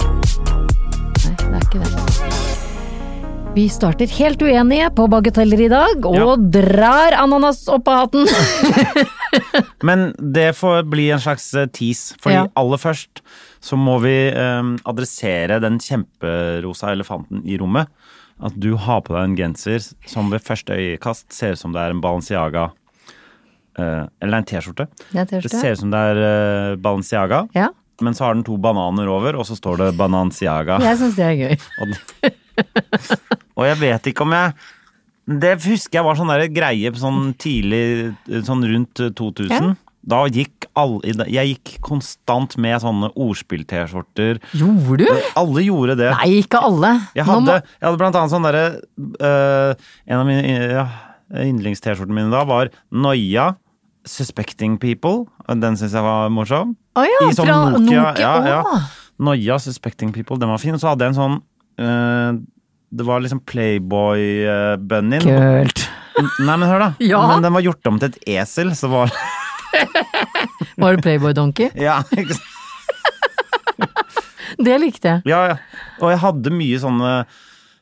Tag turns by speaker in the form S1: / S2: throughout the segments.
S1: Nei, det er ikke det. Vi starter helt uenige på bagateller i dag, og
S2: Ja.
S1: drar ananas opp av hatten.
S2: Men det får bli en slags eh, tease, fordi
S1: Ja.
S2: aller først så må vi eh, adressere den kjemperosa elefanten i rommet. At du har på deg en genser som ved første øyekast ser ut som det er en Balenciaga eh, Eller en T-skjorte.
S1: Det er
S2: Det
S1: T-skjorte.
S2: ser ut som det er eh, Balenciaga,
S1: Ja,
S2: men så har den to bananer over, og så står det Bananciaga.
S1: jeg syns det er gøy.
S2: Og, og jeg vet ikke om jeg Det husker jeg var sånn der greie på sånn tidlig Sånn rundt 2000.
S1: Ja.
S2: Da gikk alle Jeg gikk konstant med sånne ordspill-T-skjorter.
S1: Gjorde du?
S2: Alle gjorde det.
S1: Nei, ikke alle.
S2: Jeg
S1: Nå
S2: hadde,
S1: må-
S2: jeg hadde blant annet sånn derre øh, En av mine ja, yndlings-T-skjortene mine da var Noia. Suspecting People. Den syns jeg var morsom.
S1: Å ja,
S2: I sånn
S1: fra
S2: Nokia.
S1: Nokia,
S2: Ja, ja.
S1: å.
S2: Noia Suspecting People, den var fin. Og så hadde jeg en sånn eh, Det var liksom Playboy-bunnyen.
S1: Kult.
S2: Nei, men hør, da.
S1: Ja.
S2: Men den var gjort om til et esel, så var
S1: Var det Playboy Donkey?
S2: Ja, ikke sant?
S1: Det likte jeg.
S2: ja, ja. Og jeg hadde mye sånne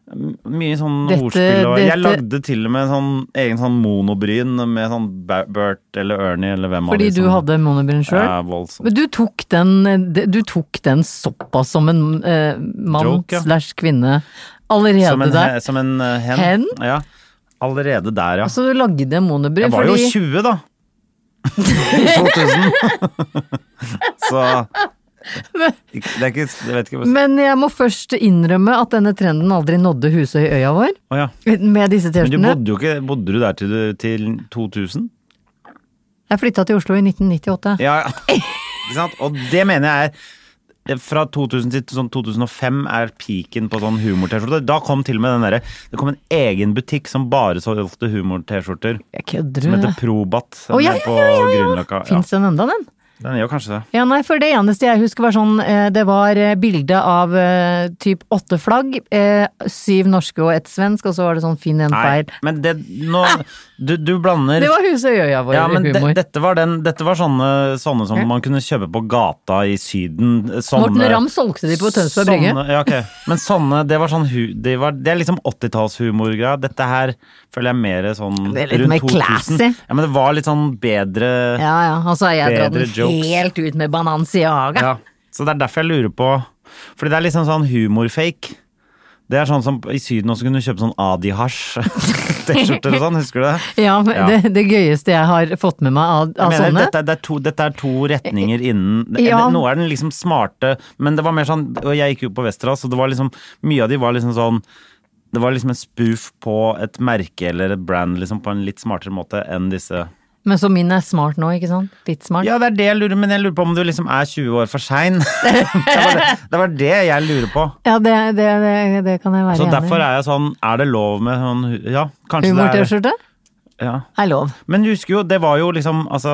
S2: mye sånn
S1: Dette-
S2: ordspill. Og jeg
S1: dette-
S2: lagde til og med en sånn egen sånn monobryn med sånn Ba- Bert eller Ernie eller hvem
S1: Fordi
S2: av de
S1: du
S2: som-
S1: hadde monobryn sjøl.
S2: sånn- Ja, voldsomt.
S1: Men du tok den, du tok den såpass som en eh, mann
S2: Joke, ja.
S1: slash kvinne allerede
S2: Som en, he-
S1: der.
S2: som en eh, hen.
S1: Hen?
S2: Ja. Allerede der, ja.
S1: Så du lagde en monobryn
S2: Jeg var
S1: fordi
S2: jo 20, da. I 2000. Så Ikke- det er ikke, jeg vet ikke hva
S1: Men jeg må først innrømme at denne trenden aldri nådde Husøyøya vår.
S2: Å ja.
S1: Med disse
S2: Men du
S1: T-skjortene.
S2: bodde jo ikke Bodde du der til, du- til 2000?
S1: Jeg flytta til Oslo i 1998.
S2: Ja, ja. Ikke sant? Og det mener jeg er fra 2000 til sånn 2005 er peaken på sånn humor-T-skjorte. Da kom til og med den derre Det kom en egen butikk som bare solgte humor-T-skjorter.
S1: Jeg kødder.
S2: Som heter Probat.
S1: Å, ja,
S2: nede på
S1: ja, ja, ja, ja.
S2: Grünerløkka. Ja.
S1: Fins den enda, den?
S2: Den gjør kanskje det.
S1: Ja, nei, for det eneste jeg husker var sånn eh, Det var eh, bilde av eh, typ åtte flagg. Eh, syv norske og ett svensk, og så var det sånn finn en
S2: Nei,
S1: feil. Ah!
S2: men det nå Du, du blander
S1: Det var Husøyøya vår
S2: Ja, men de,
S1: humor.
S2: dette, var den, dette var sånne, sånne som
S1: Ja.
S2: man kunne kjøpe på gata i Syden. eh, Sånne,
S1: Morten Ramm solgte de på Tønsberg Brygge.
S2: sånne- Ja, ok. Men sånne, det var sånn hu- det, var, det er liksom 80-tallshumorgreia. Dette her føler jeg mer sånn
S1: Det er litt
S2: rundt
S1: mer
S2: 2000.
S1: classy.
S2: Ja, men det var litt sånn bedre
S1: Ja ja, altså jeg dratt
S2: Bedre
S1: den
S2: jokes.
S1: helt ut med Bananciaga.
S2: Ja. Så det er derfor jeg lurer på Fordi det er liksom sånn humorfake. Det er sånn som i Syden også kunne du kjøpe sånn Adi-hasj-T-skjorter og sånn, husker du det?
S1: Ja, men
S2: Ja.
S1: Det, det gøyeste jeg har fått med meg av, av
S2: Jeg mener,
S1: sånne
S2: dette, er- det er to, dette er to retninger innen
S1: Ja.
S2: eller, Nå er den liksom smarte, men det var mer sånn Og jeg gikk jo på Westerdals, og det var liksom Mye av de var liksom sånn Det var liksom en spoof på et merke eller et brand liksom på en litt smartere måte enn disse
S1: Men så min er smart nå, ikke sant? Litt smart.
S2: Ja, det er det jeg lurer men jeg lurer på om du liksom er 20 år for sein. det, var det, det var det jeg lurer på.
S1: Ja, det, det, det, det kan jeg være
S2: Så derfor
S1: enig i.
S2: er jeg sånn Er det lov med sånn hu- Ja, kanskje det er
S1: Humor-T-skjorte
S2: ja.
S1: er lov.
S2: Men du husker jo, det var jo liksom Altså,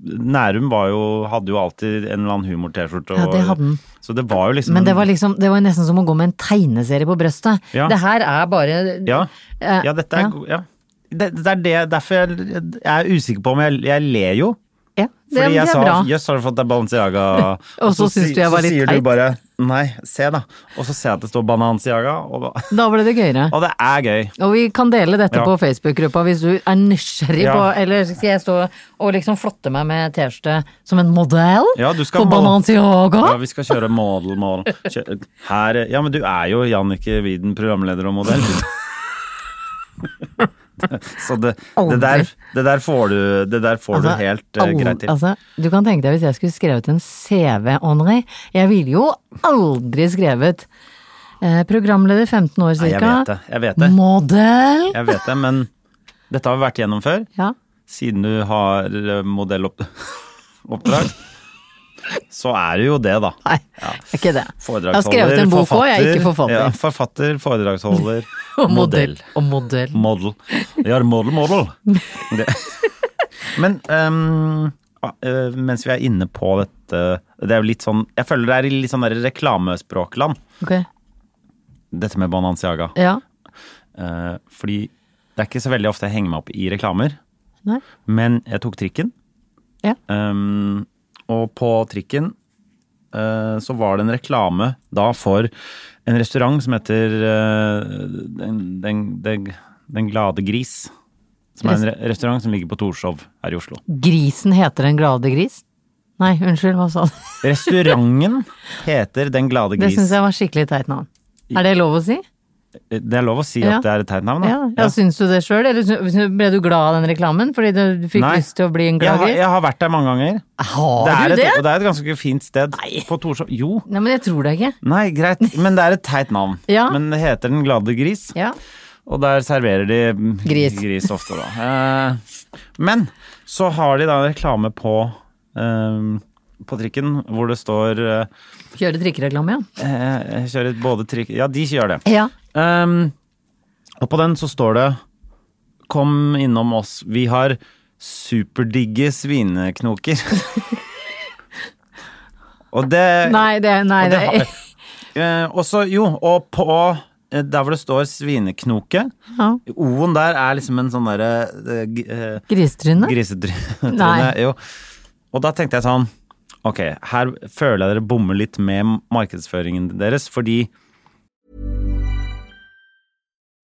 S2: Nærum var jo, hadde jo alltid en eller annen humor-T-skjorte.
S1: Ja,
S2: og-
S1: det hadde den.
S2: Så det var jo liksom
S1: Men det var liksom, det var nesten som å gå med en tegneserie på brøstet.
S2: Ja.
S1: Det her er bare
S2: Ja,
S1: eh,
S2: ja dette er
S1: ja.
S2: god Ja. Det, det er det, derfor jeg, jeg er usikker på om jeg, jeg ler jo.
S1: Ja, det,
S2: Fordi
S1: det
S2: jeg
S1: er
S2: sa
S1: bra.
S2: 'jøss, har du fått deg Balenciaga'?
S1: Og så syns
S2: si-
S1: du jeg var litt
S2: Så sier du
S1: teit.
S2: bare 'nei, se da', og så ser jeg at det står Bananciaga, og, da-
S1: Da ble det gøyere.
S2: og det er gøy.
S1: Og vi kan dele dette
S2: Ja.
S1: på Facebook-gruppa hvis du er nysgjerrig
S2: Ja.
S1: på Eller skal jeg stå og liksom flotte meg med T-skjorte som en modell
S2: Ja, du skal
S1: for
S2: måle-
S1: Bananciaga?
S2: Ja, vi skal kjøre model, model. Kjø- Her Ja, men du er jo Jannicke Widen, programleder og modell. Så det, det, der, det der får du, det der får
S1: Altså,
S2: du helt eh,
S1: al-
S2: greit til.
S1: Altså, du kan tenke deg hvis jeg skulle skrevet en CV, Henri. Jeg ville jo aldri skrevet eh, programleder 15 år
S2: Nei, jeg
S1: cirka.
S2: vet det. Jeg vet det.
S1: Modell.
S2: Jeg vet det, men Dette har vi vært gjennom før,
S1: Ja.
S2: siden du har eh, modelloppdrag. Så er det jo det, da.
S1: Nei, det er ikke det. Jeg har
S2: Foredragsholder,
S1: skrevet en bok òg, jeg er ikke forfatter.
S2: Ja, forfatter, foredragsholder,
S1: Og modell. Og modell.
S2: Model. We are model, model. Det. Men ehm, ah, eh, mens vi er inne på dette Det er jo litt sånn Jeg føler det er i litt sånn der reklamespråkland,
S1: Ok,
S2: dette med Bananciaga.
S1: ja.
S2: Eh, fordi det er ikke så veldig ofte jeg henger meg opp i reklamer.
S1: Nei.
S2: Men jeg tok trikken.
S1: Ja.
S2: Ehm, og på trikken eh, så var det en reklame da for en restaurant som heter eh, den, den, den, den glade gris. Som er en re restaurant som ligger på Torshov her i Oslo.
S1: Grisen heter Den glade gris? Nei, unnskyld, hva sa du?
S2: Restauranten heter Den glade
S1: Det
S2: gris. Eh,
S1: syns jeg var skikkelig teit navn. Er det lov å si?
S2: Det er lov å si
S1: Ja.
S2: at det er et teit navn, da.
S1: Ja, ja. Syns du det sjøl, eller syns- ble du glad av den reklamen fordi du fikk
S2: Nei.
S1: lyst til å bli en
S2: Jeg,
S1: glad
S2: har,
S1: gris?
S2: jeg har vært der mange ganger.
S1: Har
S2: er
S1: du
S2: et,
S1: det?
S2: Og det er et ganske fint sted. På Torshov. Jo.
S1: Nei, men jeg tror det ikke.
S2: Nei, greit. Men det er et teit navn.
S1: Ja.
S2: Men det heter Den glade gris.
S1: Ja.
S2: Og der serverer de mm,
S1: Gris.
S2: ofte, da. Eh, men så har de da en reklame på eh, på trikken hvor det står eh,
S1: Kjøre trikkereklame, ja.
S2: eh, Kjører både trikk... Ja, de gjør det.
S1: Ja.
S2: Ehm, og på den så står det Kom innom oss, vi har superdigge svineknoker. og det
S1: Nei, det, nei,
S2: Og
S1: det,
S2: det eh, Og så, jo, og på eh, der hvor det står svineknoke
S1: ja.
S2: O-en der er liksom en sånn derre eh, g- eh,
S1: Grisetryne?
S2: grisetryne.
S1: Nei.
S2: Jo. Og da tenkte jeg sånn Ok, her føler jeg dere bommer litt med markedsføringen deres, fordi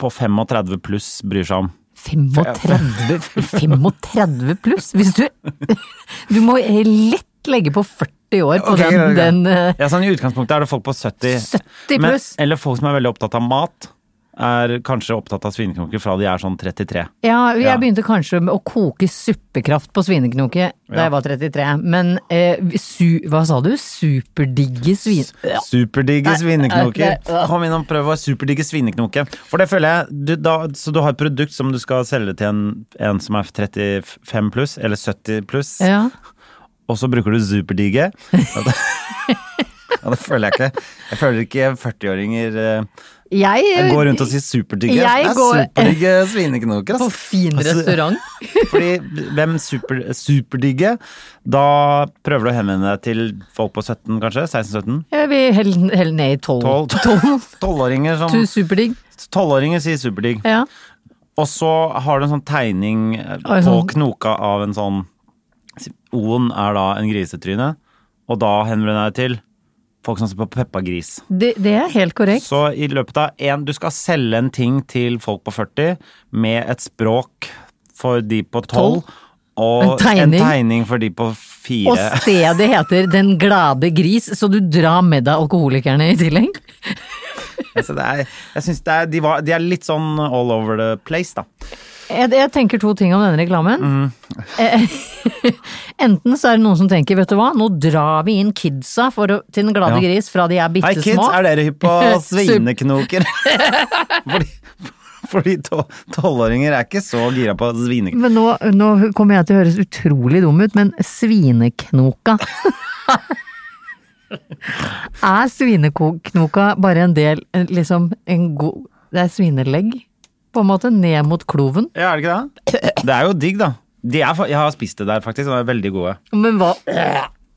S2: på 35 pluss bryr seg om.
S1: 35, 35 pluss? Hvis du Du må lett legge på 40 år på
S2: Ok, greit, greit.
S1: den, den eh,
S2: Ja, sånn I utgangspunktet er det folk på 70.
S1: 70 pluss.
S2: Men, eller folk som er veldig opptatt av mat. Er kanskje opptatt av svineknoker fra de er sånn 33.
S1: Ja, jeg
S2: Ja.
S1: begynte kanskje med å koke suppekraft på svineknoke da jeg var 33, men eh, su, hva sa du? Superdigge svin... Ja.
S2: Superdigge
S1: Nei,
S2: svineknoker.
S1: nei, det- ja.
S2: Kom inn og prøv å superdigge svineknoke. For det føler jeg du, da, Så du har et produkt som du skal selge til en, en som er 35 pluss, eller 70 pluss,
S1: Ja.
S2: og så bruker du superdigge. Ja, det, ja, det føler jeg ikke. Jeg føler ikke 40-åringer eh,
S1: Jeg,
S2: Jeg går rundt og sier superdigge.
S1: Jeg
S2: Det er
S1: går-
S2: superdigge svineknoker.
S1: På
S2: ass.
S1: fin
S2: Altså,
S1: restaurant.
S2: Fordi hvem super, superdigge? Da prøver du å henvende deg til folk på 17, kanskje? 16-17?
S1: Jeg vil helle, helle ned i 12.
S2: 12. 12-åringer som
S1: Du, Superdigg.
S2: 12-åringer sier superdigg.
S1: Ja.
S2: Og så har du en sånn tegning eh,
S1: Og en
S2: på
S1: sånn-
S2: knoka av en sånn O-en er da en grisetryne, og da henvender jeg deg til folk som ser på Peppa Gris.
S1: Det, det er helt korrekt.
S2: Så i løpet av en, Du skal selge en ting til folk på 40 med et språk for de på 12, og
S1: En tegning.
S2: en tegning for de på 4.
S1: Og stedet heter Den glade gris, så du drar med deg alkoholikerne i tillegg?
S2: Så Altså, det er, jeg synes det er, de, var, de er litt sånn all over the place, da.
S1: Jeg, jeg tenker to ting om denne reklamen.
S2: Mm.
S1: Eh, Enten så er det noen som tenker, vet du hva, nå drar vi inn kidsa for å, til Den glade
S2: Ja.
S1: gris fra de er bitte
S2: Hei, kids,
S1: små.
S2: er dere hypp på
S1: Sup-
S2: svineknoker? fordi fordi to- tolvåringer er ikke så gira på svineknoker.
S1: Men nå, nå kommer jeg til å høres utrolig dum ut, men svineknoka. Er svineknoka bare en del en- liksom en god Det er svinelegg, på en måte, ned mot kloven.
S2: Ja, er det ikke det? Det er jo digg, da. De er, fa- jeg har spist det der, faktisk. De er veldig gode.
S1: Men hva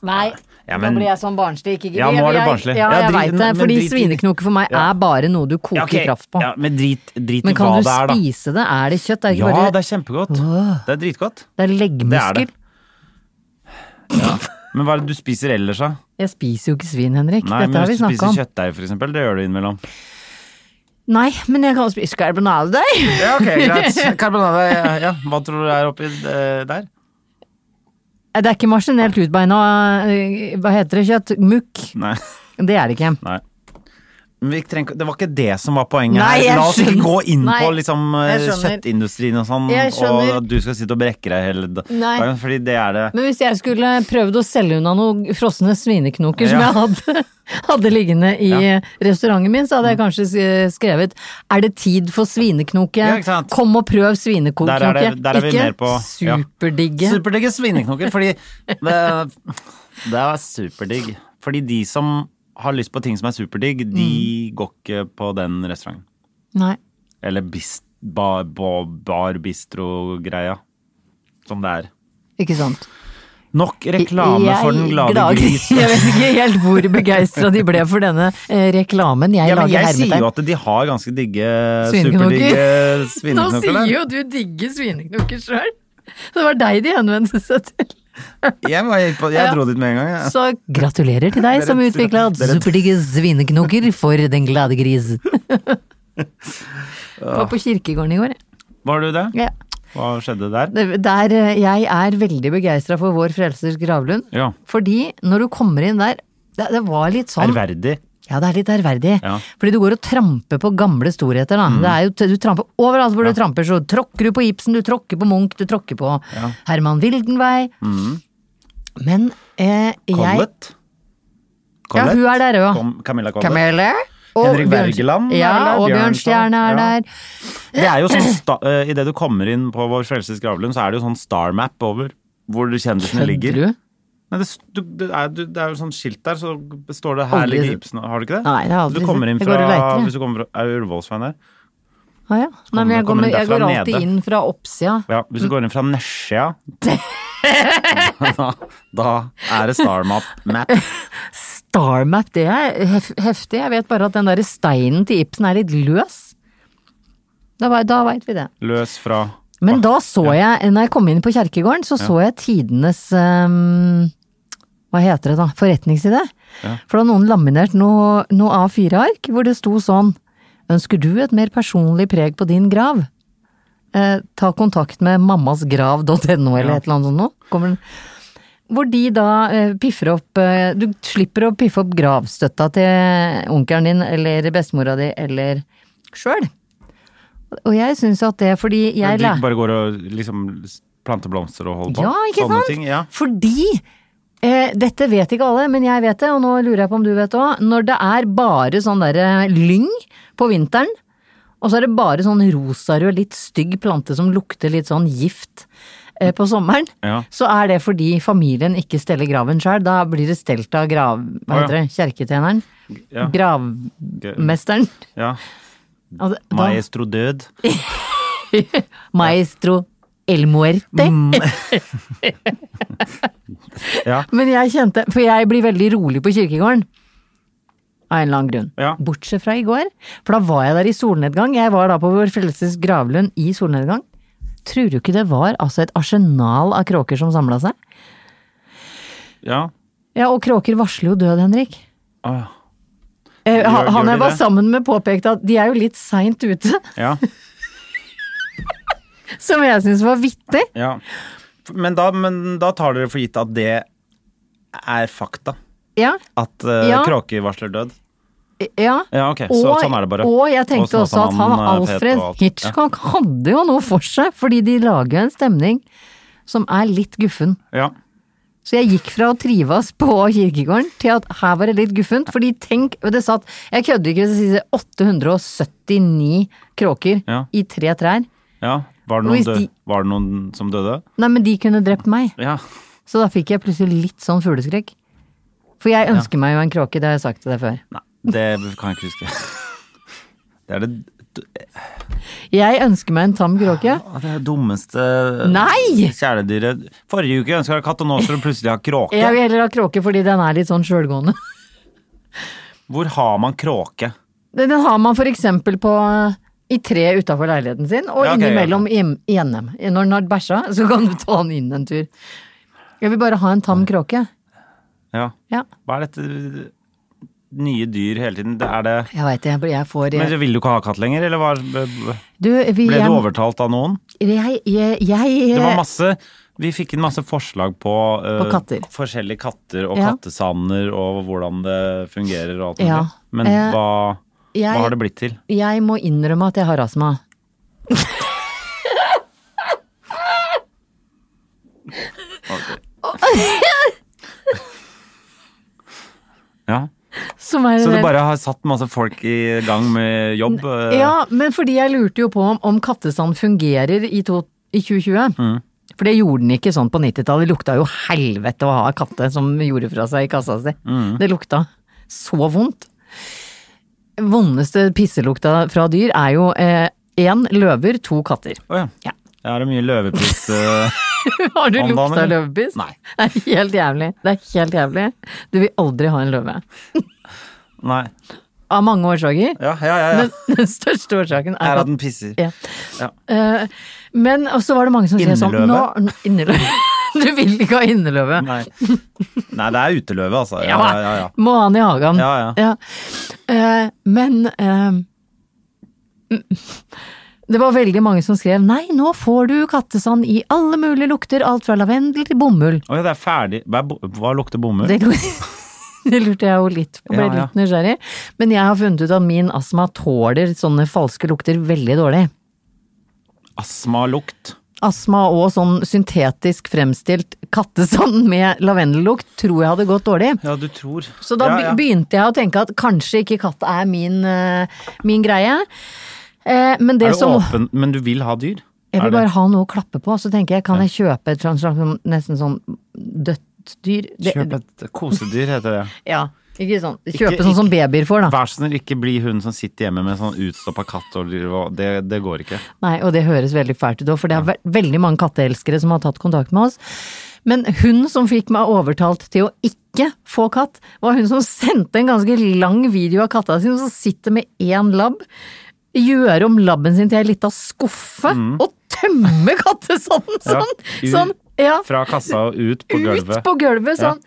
S1: Nei.
S2: Ja, men-
S1: nå blir jeg sånn barnslig. Ikke
S2: Ja, nå er du
S1: Jeg-
S2: barnslig.
S1: Ja,
S2: Ja,
S1: jeg
S2: drit-
S1: vet det,
S2: men- men
S1: fordi
S2: drit i-
S1: svineknoke for meg
S2: Ja.
S1: er bare noe du koker
S2: Ja, ok.
S1: kraft på.
S2: Ja, men drit, drit i
S1: men kan
S2: hva
S1: du
S2: det er, da.
S1: spise det? Er det kjøtt? Er det
S2: Ja,
S1: ikke bare
S2: det er kjempegodt. Det er dritgodt.
S1: det er
S2: Det er det.
S1: leggmuskler?
S2: Men hva er det du spiser ellers, da?
S1: Jeg spiser jo ikke svin, Henrik.
S2: Nei,
S1: Dette
S2: men
S1: har vi
S2: hvis du
S1: snakka om.
S2: spiser kjøttdeig, for eksempel, det gjør du innimellom.
S1: Nei, men jeg kan spise karbonadedeig.
S2: Ja, ok, greit. Karbonade, ja, ja. Hva tror du er oppi eh, der?
S1: Det er ikke maskinelt utbeina eh, Hva heter det? Kjøtt? Mukk?
S2: Nei.
S1: Det er det ikke.
S2: Nei. Men vi trenger, ikke- det var ikke det som var poenget
S1: Nei, jeg
S2: her. La oss ikke
S1: skjønner.
S2: gå inn
S1: Nei,
S2: på liksom, eh,
S1: jeg skjønner.
S2: kjøttindustrien og sånn,
S1: Jeg skjønner.
S2: og at du skal sitte og brekke deg hele da-
S1: Nei.
S2: dagen, fordi det er det.
S1: Men hvis jeg skulle prøvd å selge unna noen frosne svineknoker som
S2: Ja.
S1: jeg hadde, hadde liggende i restauranten min, så hadde jeg kanskje s- skrevet 'Er det tid for svineknoke?
S2: Ja, ikke sant?
S1: Kom og prøv svineknoke'.
S2: Der er det- der er vi
S1: ikke
S2: mer på- ja.
S1: superdigge.
S2: Superdigge svineknoker, fordi det, det er superdigg. Fordi de som har lyst på ting som er superdigg,
S1: Mm.
S2: de går ikke på den restauranten.
S1: Nei.
S2: Eller bist, bar, bar, bar bistro-greia, som det er.
S1: Ikke sant.
S2: Nok reklame
S1: Jeg-
S2: for den glade
S1: glad-
S2: gris.
S1: Jeg vet ikke helt hvor begeistra de ble for denne eh, reklamen. Jeg
S2: Ja, men
S1: lager
S2: jeg sier jo
S1: hermetegn.
S2: at de har ganske digge,
S1: Svineknoker.
S2: superdigge
S1: Nå
S2: svineknoker.
S1: sier
S2: der.
S1: jo du digge svineknoker sjøl. Det var deg de henvendte seg til.
S2: Jeg, var helt på, jeg
S1: Ja.
S2: dro dit med en gang. jeg.
S1: Så gratulerer til deg som utvikla superdigge svineknoker for den glade gris. Var på kirkegården i går. jeg.
S2: Var du det?
S1: Ja.
S2: Hva skjedde der?
S1: Det- Der eh, jeg er veldig begeistra for Vår Frelsers gravlund.
S2: Ja.
S1: Fordi når du kommer inn der det, det var litt sånn
S2: Ærverdig.
S1: Ja, det er litt ærverdig.
S2: Ja. Mm.
S1: Fordi du går og tramper på gamle storheter, da. Det er jo, du tramper overalt hvor du tramper, så tråkker du på Ibsen, du tråkker på Munch, du tråkker på Herman Wildenvei.
S2: Mm.
S1: Men eh, jeg
S2: Collett.
S1: Ja, hun er der òg.
S2: Kom, Camilla Collett.
S1: Camille.
S2: Henrik Wergeland er
S1: Ja,
S2: der,
S1: og
S2: Bjørnstjerne,
S1: Bjørnstjerne er
S2: ja.
S1: der.
S2: Det er jo sånn sta, eh, I det du kommer inn på Vår Frelses gravlund, så er det jo sånn star-map over hvor kjendisene ligger.
S1: Kødder du?
S2: Nei, det, s- du, det, er, du, det er jo sånn skilt der, så står det 'Her
S1: Aldri
S2: ligger
S1: sett.
S2: Ibsen'. Har du ikke det?
S1: Nei, det har jeg aldri
S2: du kommer
S1: sett.
S2: inn
S1: Jeg
S2: fra,
S1: går og leter, jeg.
S2: Hvis du kommer fra er du Ullevålsveien der
S1: Ah, ja. Nei, men jeg
S2: kommer
S1: går,
S2: den
S1: jeg
S2: derfra
S1: går alltid
S2: nede.
S1: inn fra oppsida.
S2: ja, Hvis du går inn fra Nesja da, da er det star-map. Map.
S1: Starmap, det er hef heftig. Jeg vet bare at den derre steinen til Ibsen er litt løs. Da, var- da veit vi det.
S2: Løs fra
S1: Men da så jeg, når jeg kom inn på kjerkegården, så så jeg tidenes ehm, Hva heter det da? Forretningside. For da hadde noen laminert noe, noe A4-ark hvor det sto sånn Ønsker du et mer personlig preg på din grav? Eh, ta kontakt med mammasgrav.no eller et eller annet sånt nå. Kommer den. Hvor de da eh, piffer opp eh, Du slipper å piffe opp gravstøtta til onkelen din eller bestemora di eller sjøl. Og jeg syns at det fordi jeg
S2: Du
S1: lærte
S2: ikke bare går og liksom planter blomster og holder på?
S1: ja, ikke
S2: Sånne
S1: sant?
S2: ting, ja.
S1: Fordi eh, dette vet ikke alle, men jeg vet det, og nå lurer jeg på om du vet òg. Når det er bare sånn derre lyng på vinteren, og så er det bare sånn rosarød, litt stygg plante som lukter litt sånn gift eh, på sommeren,
S2: Ja.
S1: så er det fordi familien ikke steller graven sjøl. Da blir det stelt av grav... Hva
S2: Å,
S1: heter det? Kjerketjeneren?
S2: Ja.
S1: Gravmesteren?
S2: ja.
S1: Altså, da-
S2: Maestro død.
S1: Maestro El Muerte.
S2: Ja.
S1: Men jeg kjente, for jeg blir veldig rolig på kirkegården. Av en eller annen grunn.
S2: Ja.
S1: Bortsett fra i går. For da var jeg der i solnedgang. Jeg var da på Vår Frelses gravlund i solnedgang. Tror du ikke det var altså et arsenal av kråker som samla seg?
S2: Ja.
S1: Ja, og kråker varsler jo død, Henrik.
S2: Åh,
S1: Eh,
S2: Gjør-
S1: han-
S2: gjør
S1: han
S2: de
S1: jeg var
S2: det?
S1: sammen med påpekte at de er jo litt seint ute,
S2: ja.
S1: som jeg syns var vittig.
S2: ja. Men, da, men da tar dere for gitt at det er fakta.
S1: Ja,
S2: At eh,
S1: Ja.
S2: kråker varsler død.
S1: ja.
S2: Ja, ok. Så, sånn er det bare.
S1: Og jeg tenkte
S2: Og
S1: også at han
S2: Snåsamannen, eh, Pet
S1: Alfred
S2: og alt.
S1: Hitchcock hadde jo noe for seg, fordi de lager jo en stemning som er litt guffen.
S2: Ja.
S1: Så jeg gikk fra å trives på kirkegården til at her var det litt guffent, fordi tenk, og det satt, jeg kødder ikke hvis jeg sier 879 kråker
S2: Ja.
S1: i tre trær.
S2: ja. Var, det
S1: Og hvis
S2: noen død,
S1: de-
S2: var det noen som døde?
S1: Nei, men de kunne drept meg.
S2: Ja.
S1: Så da fikk jeg plutselig litt sånn fugleskrekk. For jeg ønsker meg jo en kråke, det har jeg sagt til deg før.
S2: Nei, det kan jeg ikke huske. Det er det,
S1: Jeg ønsker meg en tam kråke.
S2: å, det er det dummeste
S1: Nei!
S2: kjæledyret Forrige uke ønska jeg katt, og nå skal du plutselig ha kråke.
S1: Jeg vil heller ha kråke fordi den er litt sånn sjølgående.
S2: Hvor har man kråke?
S1: Den den har man for eksempel på eh, i tre utafor leiligheten sin, og
S2: Ja, ok,
S1: innimellom hjem- i NM. Når den har bæsja, så kan du ta den inn en tur. Jeg vil bare ha en tam kråke.
S2: Ja.
S1: Ja,
S2: Hva er dette nye dyr hele tiden? Det er det
S1: jeg veit det. jeg blir- Jeg får
S2: Men vil du ikke ha katt lenger, eller var, ble
S1: Du, vi
S2: du overtalt av noen?
S1: Jeg, jeg, jeg
S2: Det var masse Vi fikk inn masse forslag på, eh,
S1: Eh. På katter.
S2: forskjellige katter og
S1: Ja.
S2: kattesander og hvordan det fungerer og alt mulig.
S1: Ja.
S2: Men
S1: Eh,
S2: hva,
S1: jeg-
S2: hva har det blitt til?
S1: Jeg må innrømme at jeg har astma.
S2: Ja.
S1: Som er
S2: Så
S1: en
S2: du
S1: del-
S2: bare har satt masse folk i gang med jobb? eh,
S1: Ja, men fordi jeg lurte jo på om, om kattesand fungerer i, to, i 2020.
S2: Mm.
S1: For det gjorde den ikke sånn på 90-tallet. Det lukta jo helvete å ha katte som gjorde fra seg i kassa si.
S2: Mm.
S1: Det lukta så vondt. Vondeste pisselukta fra dyr er jo én løver, to katter.
S2: Å ja.
S1: Ja.
S2: Jeg har mye løvepiss. eh,
S1: Har du
S2: Om dagen,
S1: lukta
S2: eller?
S1: løvepiss?
S2: Nei.
S1: Det er helt jævlig. Det er helt jævlig. Du vil aldri ha en løve.
S2: Nei.
S1: Av mange årsaker.
S2: Ja, ja, ja. ja.
S1: Men den største årsaken
S2: Her
S1: er
S2: at den pisser.
S1: Ja.
S2: Ja.
S1: Eh, men og så var det mange som sier sånn
S2: Inneløve?
S1: nå, nå, Inneløve? Du vil ikke ha inneløve.
S2: Nei. Nei, det er uteløve, altså. Ja, ja, ja. ja.
S1: Må ha den i hagen.
S2: Ja, ja.
S1: Eh, men eh, mm, det var veldig mange som skrev nei, nå får du kattesand i alle mulige lukter, alt fra lavendel til bomull.
S2: Å ja, det er ferdig. Hva, er bo- hva lukter bomull?
S1: Det, det lurte jeg jo litt på, ble
S2: Ja, ja.
S1: litt nysgjerrig. Men jeg har funnet ut at min astma tåler sånne falske lukter veldig dårlig.
S2: Astmalukt.
S1: astma og sånn syntetisk fremstilt kattesand med lavendellukt tror jeg hadde gått dårlig.
S2: Ja, du tror.
S1: Så da
S2: ja,
S1: be-
S2: ja.
S1: begynte jeg å tenke at kanskje ikke katt er min, eh, min greie. Eh, men det,
S2: Er det
S1: som
S2: åpen, men du vil ha dyr?
S1: Jeg
S2: Er
S1: vil
S2: det-
S1: bare ha noe å klappe på, så tenker jeg kan jeg kjøpe et sånn slags sånn- nesten sånn dødt dyr? Det-
S2: Kjøp et kosedyr, heter det.
S1: Ja, ikke sånn. Kjøpe
S2: Ikke-
S1: sånn som babyer får, da.
S2: Vær så snill, ikke bli hun som sitter hjemme med en sånn utstoppa katt. Og driver og- det, det går ikke.
S1: Nei, og det høres veldig fælt ut òg, for det er ve veldig mange katteelskere som har tatt kontakt med oss. Men hun som fikk meg overtalt til å ikke få katt, var hun som sendte en ganske lang video av katta sin, som sitter med én labb, gjør om labben sin til ei lita skuffe, og tømmer kattesanden
S2: Mm. Ja,
S1: sånn!
S2: ut
S1: sånn ja,
S2: Fra kassa og ut på
S1: ut
S2: gulvet.
S1: på gulvet, sånn.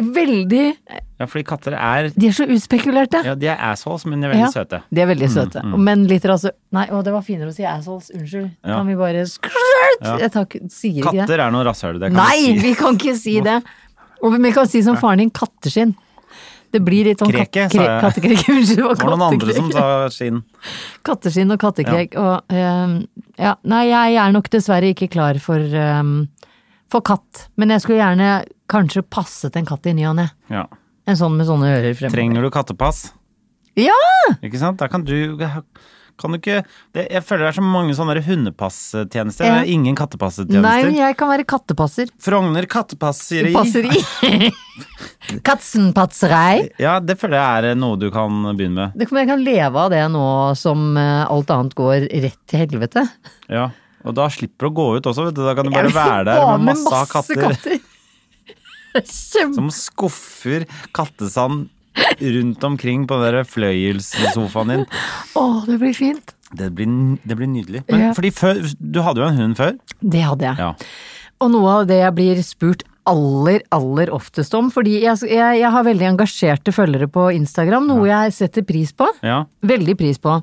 S1: Veldig
S2: Ja, fordi katter er
S1: De er så utspekulerte.
S2: ja, de er assholes, men de er veldig
S1: Ja,
S2: søte. Mm.
S1: De er veldig søte. Men litt rase... Nei, å, det var finere å si assholes. Unnskyld.
S2: Ja.
S1: Kan vi bare skrøt? Jeg tar, ikke- sier ikke det.
S2: Katter er noe rasshøl, det kan
S1: Nei,
S2: vi si.
S1: vi kan ikke si det! Og vi kan si som faren din, katteskinn. Det blir litt sånn
S2: Kreke,
S1: katt- kre,
S2: sa jeg.
S1: kattekrek. Unnskyld, det var
S2: Det var noen andre som
S1: kattekrek.
S2: sa sin.
S1: Katteskinn og kattekrek. Og ehm, ja, nei, jeg er nok dessverre ikke klar for, ehm, for katt. Men jeg skulle gjerne kanskje passet en katt i ny og ne.
S2: Ja.
S1: En sånn med sånne ører fremover.
S2: Trenger du kattepass?
S1: Ja!
S2: Ikke sant? Da kan du kan du ikke, det, Jeg føler det er så mange sånne der hundepasstjenester.
S1: Ja.
S2: Det er ingen kattepasstjenester.
S1: Nei, men jeg kan være kattepasser.
S2: Frogner kattepasseri.
S1: Passer i. Katzenpatserei.
S2: Ja, det føler jeg er noe du kan begynne med.
S1: Det kommer jeg kan leve av det nå som eh, alt annet går rett til helvete.
S2: Ja, og da slipper du å gå ut også, vet du. Da kan du bare
S1: Jeg vil
S2: være der
S1: bare
S2: med masse, av katter,
S1: Kjempe...
S2: som skuffer kattesand rundt omkring på den der fløyelssofaen din.
S1: Å, det blir fint.
S2: Det blir, n- det blir nydelig. Men
S1: Ja.
S2: fordi før, du hadde jo en hund før.
S1: Det hadde jeg.
S2: Ja.
S1: Og noe av det jeg blir spurt aller, aller oftest om, fordi jeg, jeg, jeg har veldig engasjerte følgere på Instagram, noe jeg setter pris på.
S2: ja.
S1: Veldig pris på.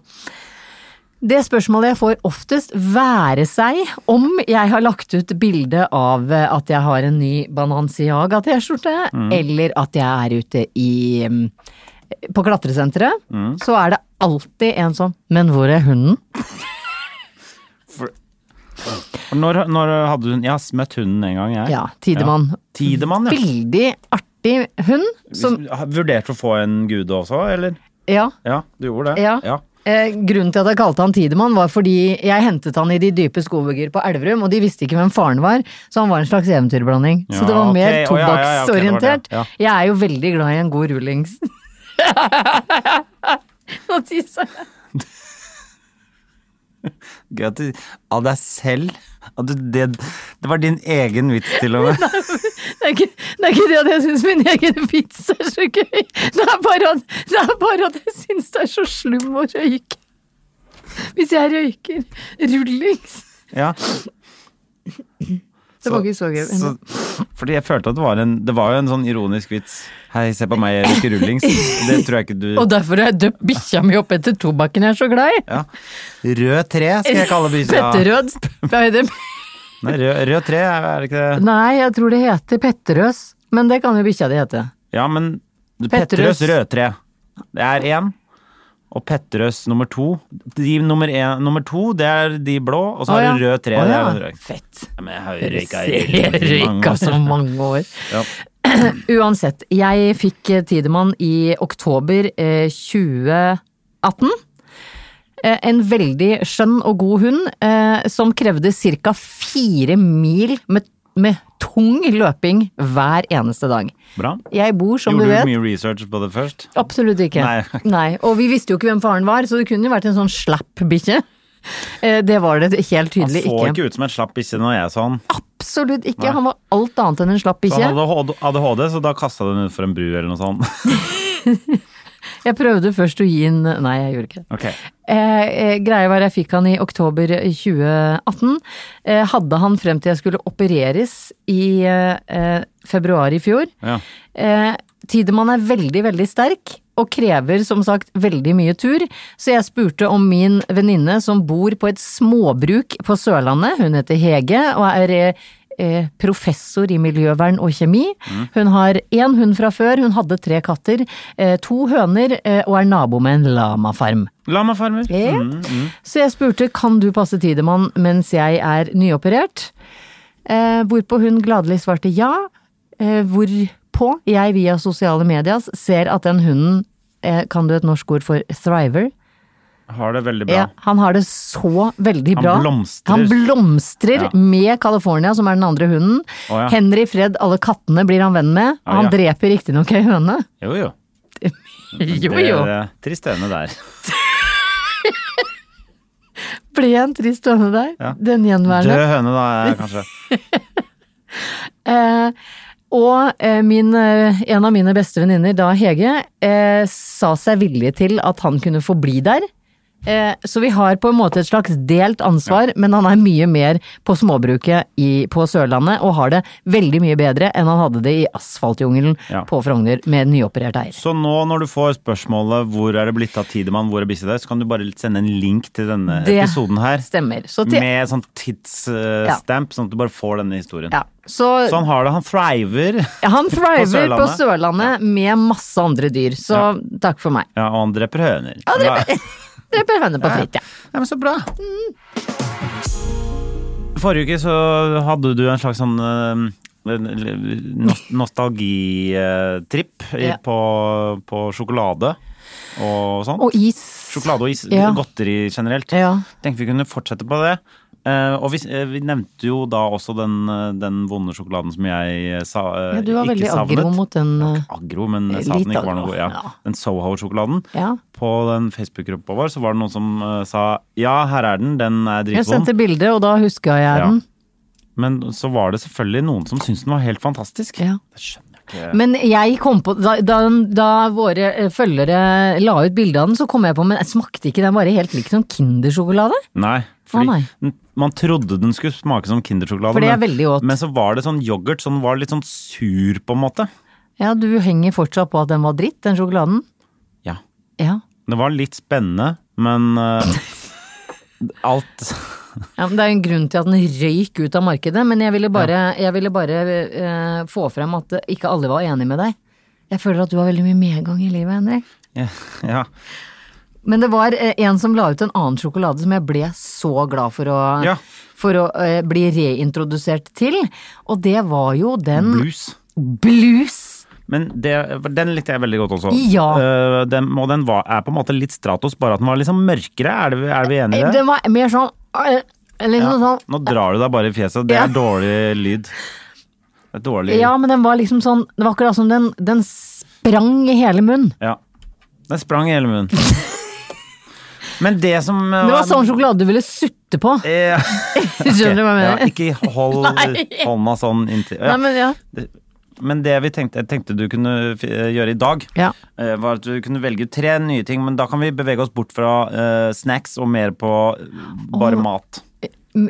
S1: Det spørsmålet jeg får oftest, være seg om jeg har lagt ut bilde av eh, at jeg har en ny Bananciaga-T-skjorte, eller at jeg er ute i mm, på klatresenteret, så er det alltid en sånn Men hvor er hunden?
S2: Og Når, når hadde du hund? Jeg har møtt hunden en gang, jeg.
S1: Ja, Tidemann.
S2: Tidemann, ja.
S1: Veldig artig hund. Som,
S2: Vurderte å få en gude også, eller?
S1: ja,
S2: Ja, du gjorde det?
S1: Ja.
S2: ja.
S1: Eh, grunnen til at jeg kalte han Tidemann, var fordi jeg hentet han i de dype skobygger på Elverum, og de visste ikke hvem faren var, så han var en slags eventyrblanding.
S2: Ja,
S1: så det var mer
S2: ok. Å, ja, ja, ja, ok, det var det,
S1: tobakksorientert.
S2: ja.
S1: Jeg er jo veldig glad i en god rullings. Nå tisser jeg.
S2: Gøy at du av deg selv at du, det, det var din egen vits til og med.
S1: Det er, ikke, det er ikke det at jeg syns min egen vits er så gøy, det er bare at, det er bare at jeg syns det er så slum å røyke. Hvis jeg røyker rullings
S2: Ja.
S1: Det var ikke så gøy.
S2: Så, fordi jeg følte at det var en Det var jo en sånn ironisk vits. Hei, se på meg, jeg liker rullings. Det tror jeg ikke du
S1: Og derfor har jeg døpt bikkja mi opp etter tobakken jeg er så glad i.
S2: ja. Rød tre skal jeg kalle bikkja.
S1: Petterød. Nei, det-
S2: Nei, rød, rød tre, er det ikke det?
S1: Nei, jeg tror det heter Petterøs, men det kan jo bikkja di hete.
S2: Ja, men
S1: Petterøes.
S2: Petterøes rødtre. Det er én. Og Petterøes nummer to. De nummer, en, nummer to, det er de blå, og så
S1: Å,
S2: har
S1: ja.
S2: du rød tre.
S1: Å,
S2: det
S1: ja.
S2: er rød.
S1: Fett.
S2: Ja, men jeg har jo
S1: Jeg
S2: røyka i
S1: røyka så mange år.
S2: Ja.
S1: Uansett, jeg fikk eh, Tidemann i oktober eh, 2018. Eh, En veldig skjønn og god hund eh, som krevde ca. fire mil med, med tung løping hver eneste dag.
S2: Bra.
S1: Jeg bor, som
S2: Gjorde
S1: du
S2: du
S1: vet
S2: mye research på det først?
S1: Absolutt ikke.
S2: Nei.
S1: Og vi visste jo ikke hvem faren var, så det kunne jo vært en sånn slapp bikkje. Eh, Det var det helt
S2: Han
S1: tydelig
S2: så
S1: ikke.
S2: ikke ut som en slapp bikkje når jeg så han.
S1: Absolutt ikke. Han var alt annet enn en slapp
S2: Så
S1: bikkje.
S2: han hadde ADHD, så da kasta du den ut for en bru eller noe sånt.
S1: Jeg prøvde først å gi en Nei, jeg gjorde ikke det.
S2: Ok.
S1: Eh, eh, greia var jeg fikk han i oktober 2018. Eh, hadde han frem til jeg skulle opereres i eh, eh, februar i fjor.
S2: Ja.
S1: Eh, Tidemann er veldig, veldig sterk, og krever som sagt veldig mye tur. Så jeg spurte om min venninne som bor på et småbruk på Sørlandet, hun heter Hege, og er eh, eh, professor i miljøvern og kjemi. Hun har én hund fra før, hun hadde tre katter, eh, to høner eh, og er nabo med en lamafarm.
S2: Lamafarmer.
S1: Ja. Mm,
S2: Mm.
S1: Så jeg spurte kan du passe Tidemann mens jeg er nyoperert, eh, hvorpå hun gladelig svarte ja, eh, hvorpå jeg via sosiale medias ser at den hunden, eh, kan du et norsk ord for thriver?
S2: Har det veldig bra.
S1: Ja, han har det så veldig
S2: Han
S1: bra.
S2: blomstrer.
S1: Han blomstrer
S2: Ja.
S1: med California, som er den andre hunden.
S2: Å, ja.
S1: Henry, Fred, alle kattene blir han venn med.
S2: Å,
S1: han
S2: ja.
S1: dreper riktignok ei høne.
S2: Jo, jo.
S1: Jo,
S2: Det,
S1: jo.
S2: det, trist ende der.
S1: Ble en trist høne der.
S2: Ja.
S1: Den gjenværende.
S2: Død høne, da, er kanskje.
S1: Eh, og eh, min, eh, en av mine beste venninner, da Hege, eh, sa seg villig til at han kunne få bli der. Eh, så vi har på en måte et slags delt ansvar, men han er mye mer på småbruket i, på Sørlandet, og har det veldig mye bedre enn han hadde det i asfaltjungelen
S2: Ja.
S1: på Frogner med nyoperert eier.
S2: Så nå når du får spørsmålet 'Hvor er det blitt av Tidemann, hvor er bikkja di', så kan du bare sende en link til denne
S1: Det
S2: episoden her.
S1: Stemmer. Så, til,
S2: Med sånn tidsstamp, sånn at du bare får denne historien.
S1: ja. så,
S2: Så han har det, han thriver.
S1: han thriver på Sørlandet,
S2: Sånn. Sørlandet.
S1: med masse andre dyr, så takk for meg.
S2: Ja, og han dreper høner. Han
S1: Dreper høne på fritt, ja.
S2: Ja, men så bra. Forrige uke så hadde du en slags sånn eh, nos- nostalgitripp i-
S1: Ja.
S2: på, på sjokolade og sånn.
S1: Og is.
S2: Sjokolade og is,
S1: Ja.
S2: godteri generelt.
S1: Ja.
S2: Tenkte vi kunne fortsette på det. Eh, og vi, s- eh, vi nevnte jo da også den, eh, den vonde sjokoladen som jeg eh, sa, eh,
S1: Ja, du var
S2: ikke
S1: veldig
S2: savnet.
S1: aggro mot den. eh,
S2: Aggro, men jeg sa
S1: Litt
S2: den ikke var
S1: aggro,
S2: noe god. Ja.
S1: ja.
S2: Den Soho-sjokoladen.
S1: Ja.
S2: På den Facebook-gruppa vår så var det noen som eh, sa ja, her er den, den er
S1: Jeg
S2: dritvond.
S1: sendte bilde, og da huska jeg
S2: Ja.
S1: den.
S2: Men så var det selvfølgelig noen som syntes den var helt fantastisk.
S1: Ja.
S2: Det skjønner jeg ikke.
S1: Men jeg kom på, da, da, da våre eh, følgere la ut bilde av den, så kom jeg på men smakte ikke den bare helt lik som Kindersjokolade?
S2: Nei.
S1: Å, nei.
S2: den- man trodde den skulle smake som Kindersjokolade,
S1: For det er
S2: men-
S1: veldig godt.
S2: men så var det sånn yoghurt som var litt sånn sur, på en måte.
S1: Ja, du henger fortsatt på at den var dritt, den sjokoladen.
S2: Ja.
S1: Ja,
S2: Det var litt spennende, men eh, alt
S1: ja men Det er jo en grunn til at den røyk ut av markedet, men jeg ville bare, jeg ville bare eh, få frem at eh, ikke alle var enig med deg. Jeg føler at du har veldig mye medgang i livet, Henrik.
S2: Ja.
S1: Men det var eh, en som la ut en annen sjokolade som jeg ble så glad for å,
S2: Ja.
S1: for å eh, bli reintrodusert til. Og det var jo den
S2: Blues.
S1: Blues!
S2: Men det, for den likte jeg veldig godt også.
S1: Ja.
S2: Eh, den, og den var, er på en måte litt Stratos, bare at den var liksom mørkere. Er, det, er vi enige i det?
S1: Den var mer sånn øh, Litt
S2: Ja.
S1: sånn
S2: Nå drar du deg bare i fjeset. Det
S1: Ja.
S2: er dårlig lyd. Det er dårlig lyd.
S1: Ja, men den var liksom sånn Det var akkurat som den, den sprang i hele munnen.
S2: Ja. Den sprang i hele munnen. Men det som eh,
S1: Det var sånn sjokolade du ville sutte på.
S2: Eh,
S1: Skjønner du hva jeg
S2: ja,
S1: mener?
S2: ikke hold
S1: Nei.
S2: hånda sånn inntil ja.
S1: Nei, men ja.
S2: Men det vi tenkte, jeg tenkte du kunne f- gjøre i dag,
S1: Ja.
S2: eh, var at du kunne velge ut tre nye ting, men da kan vi bevege oss bort fra eh, snacks og mer på eh, bare mat.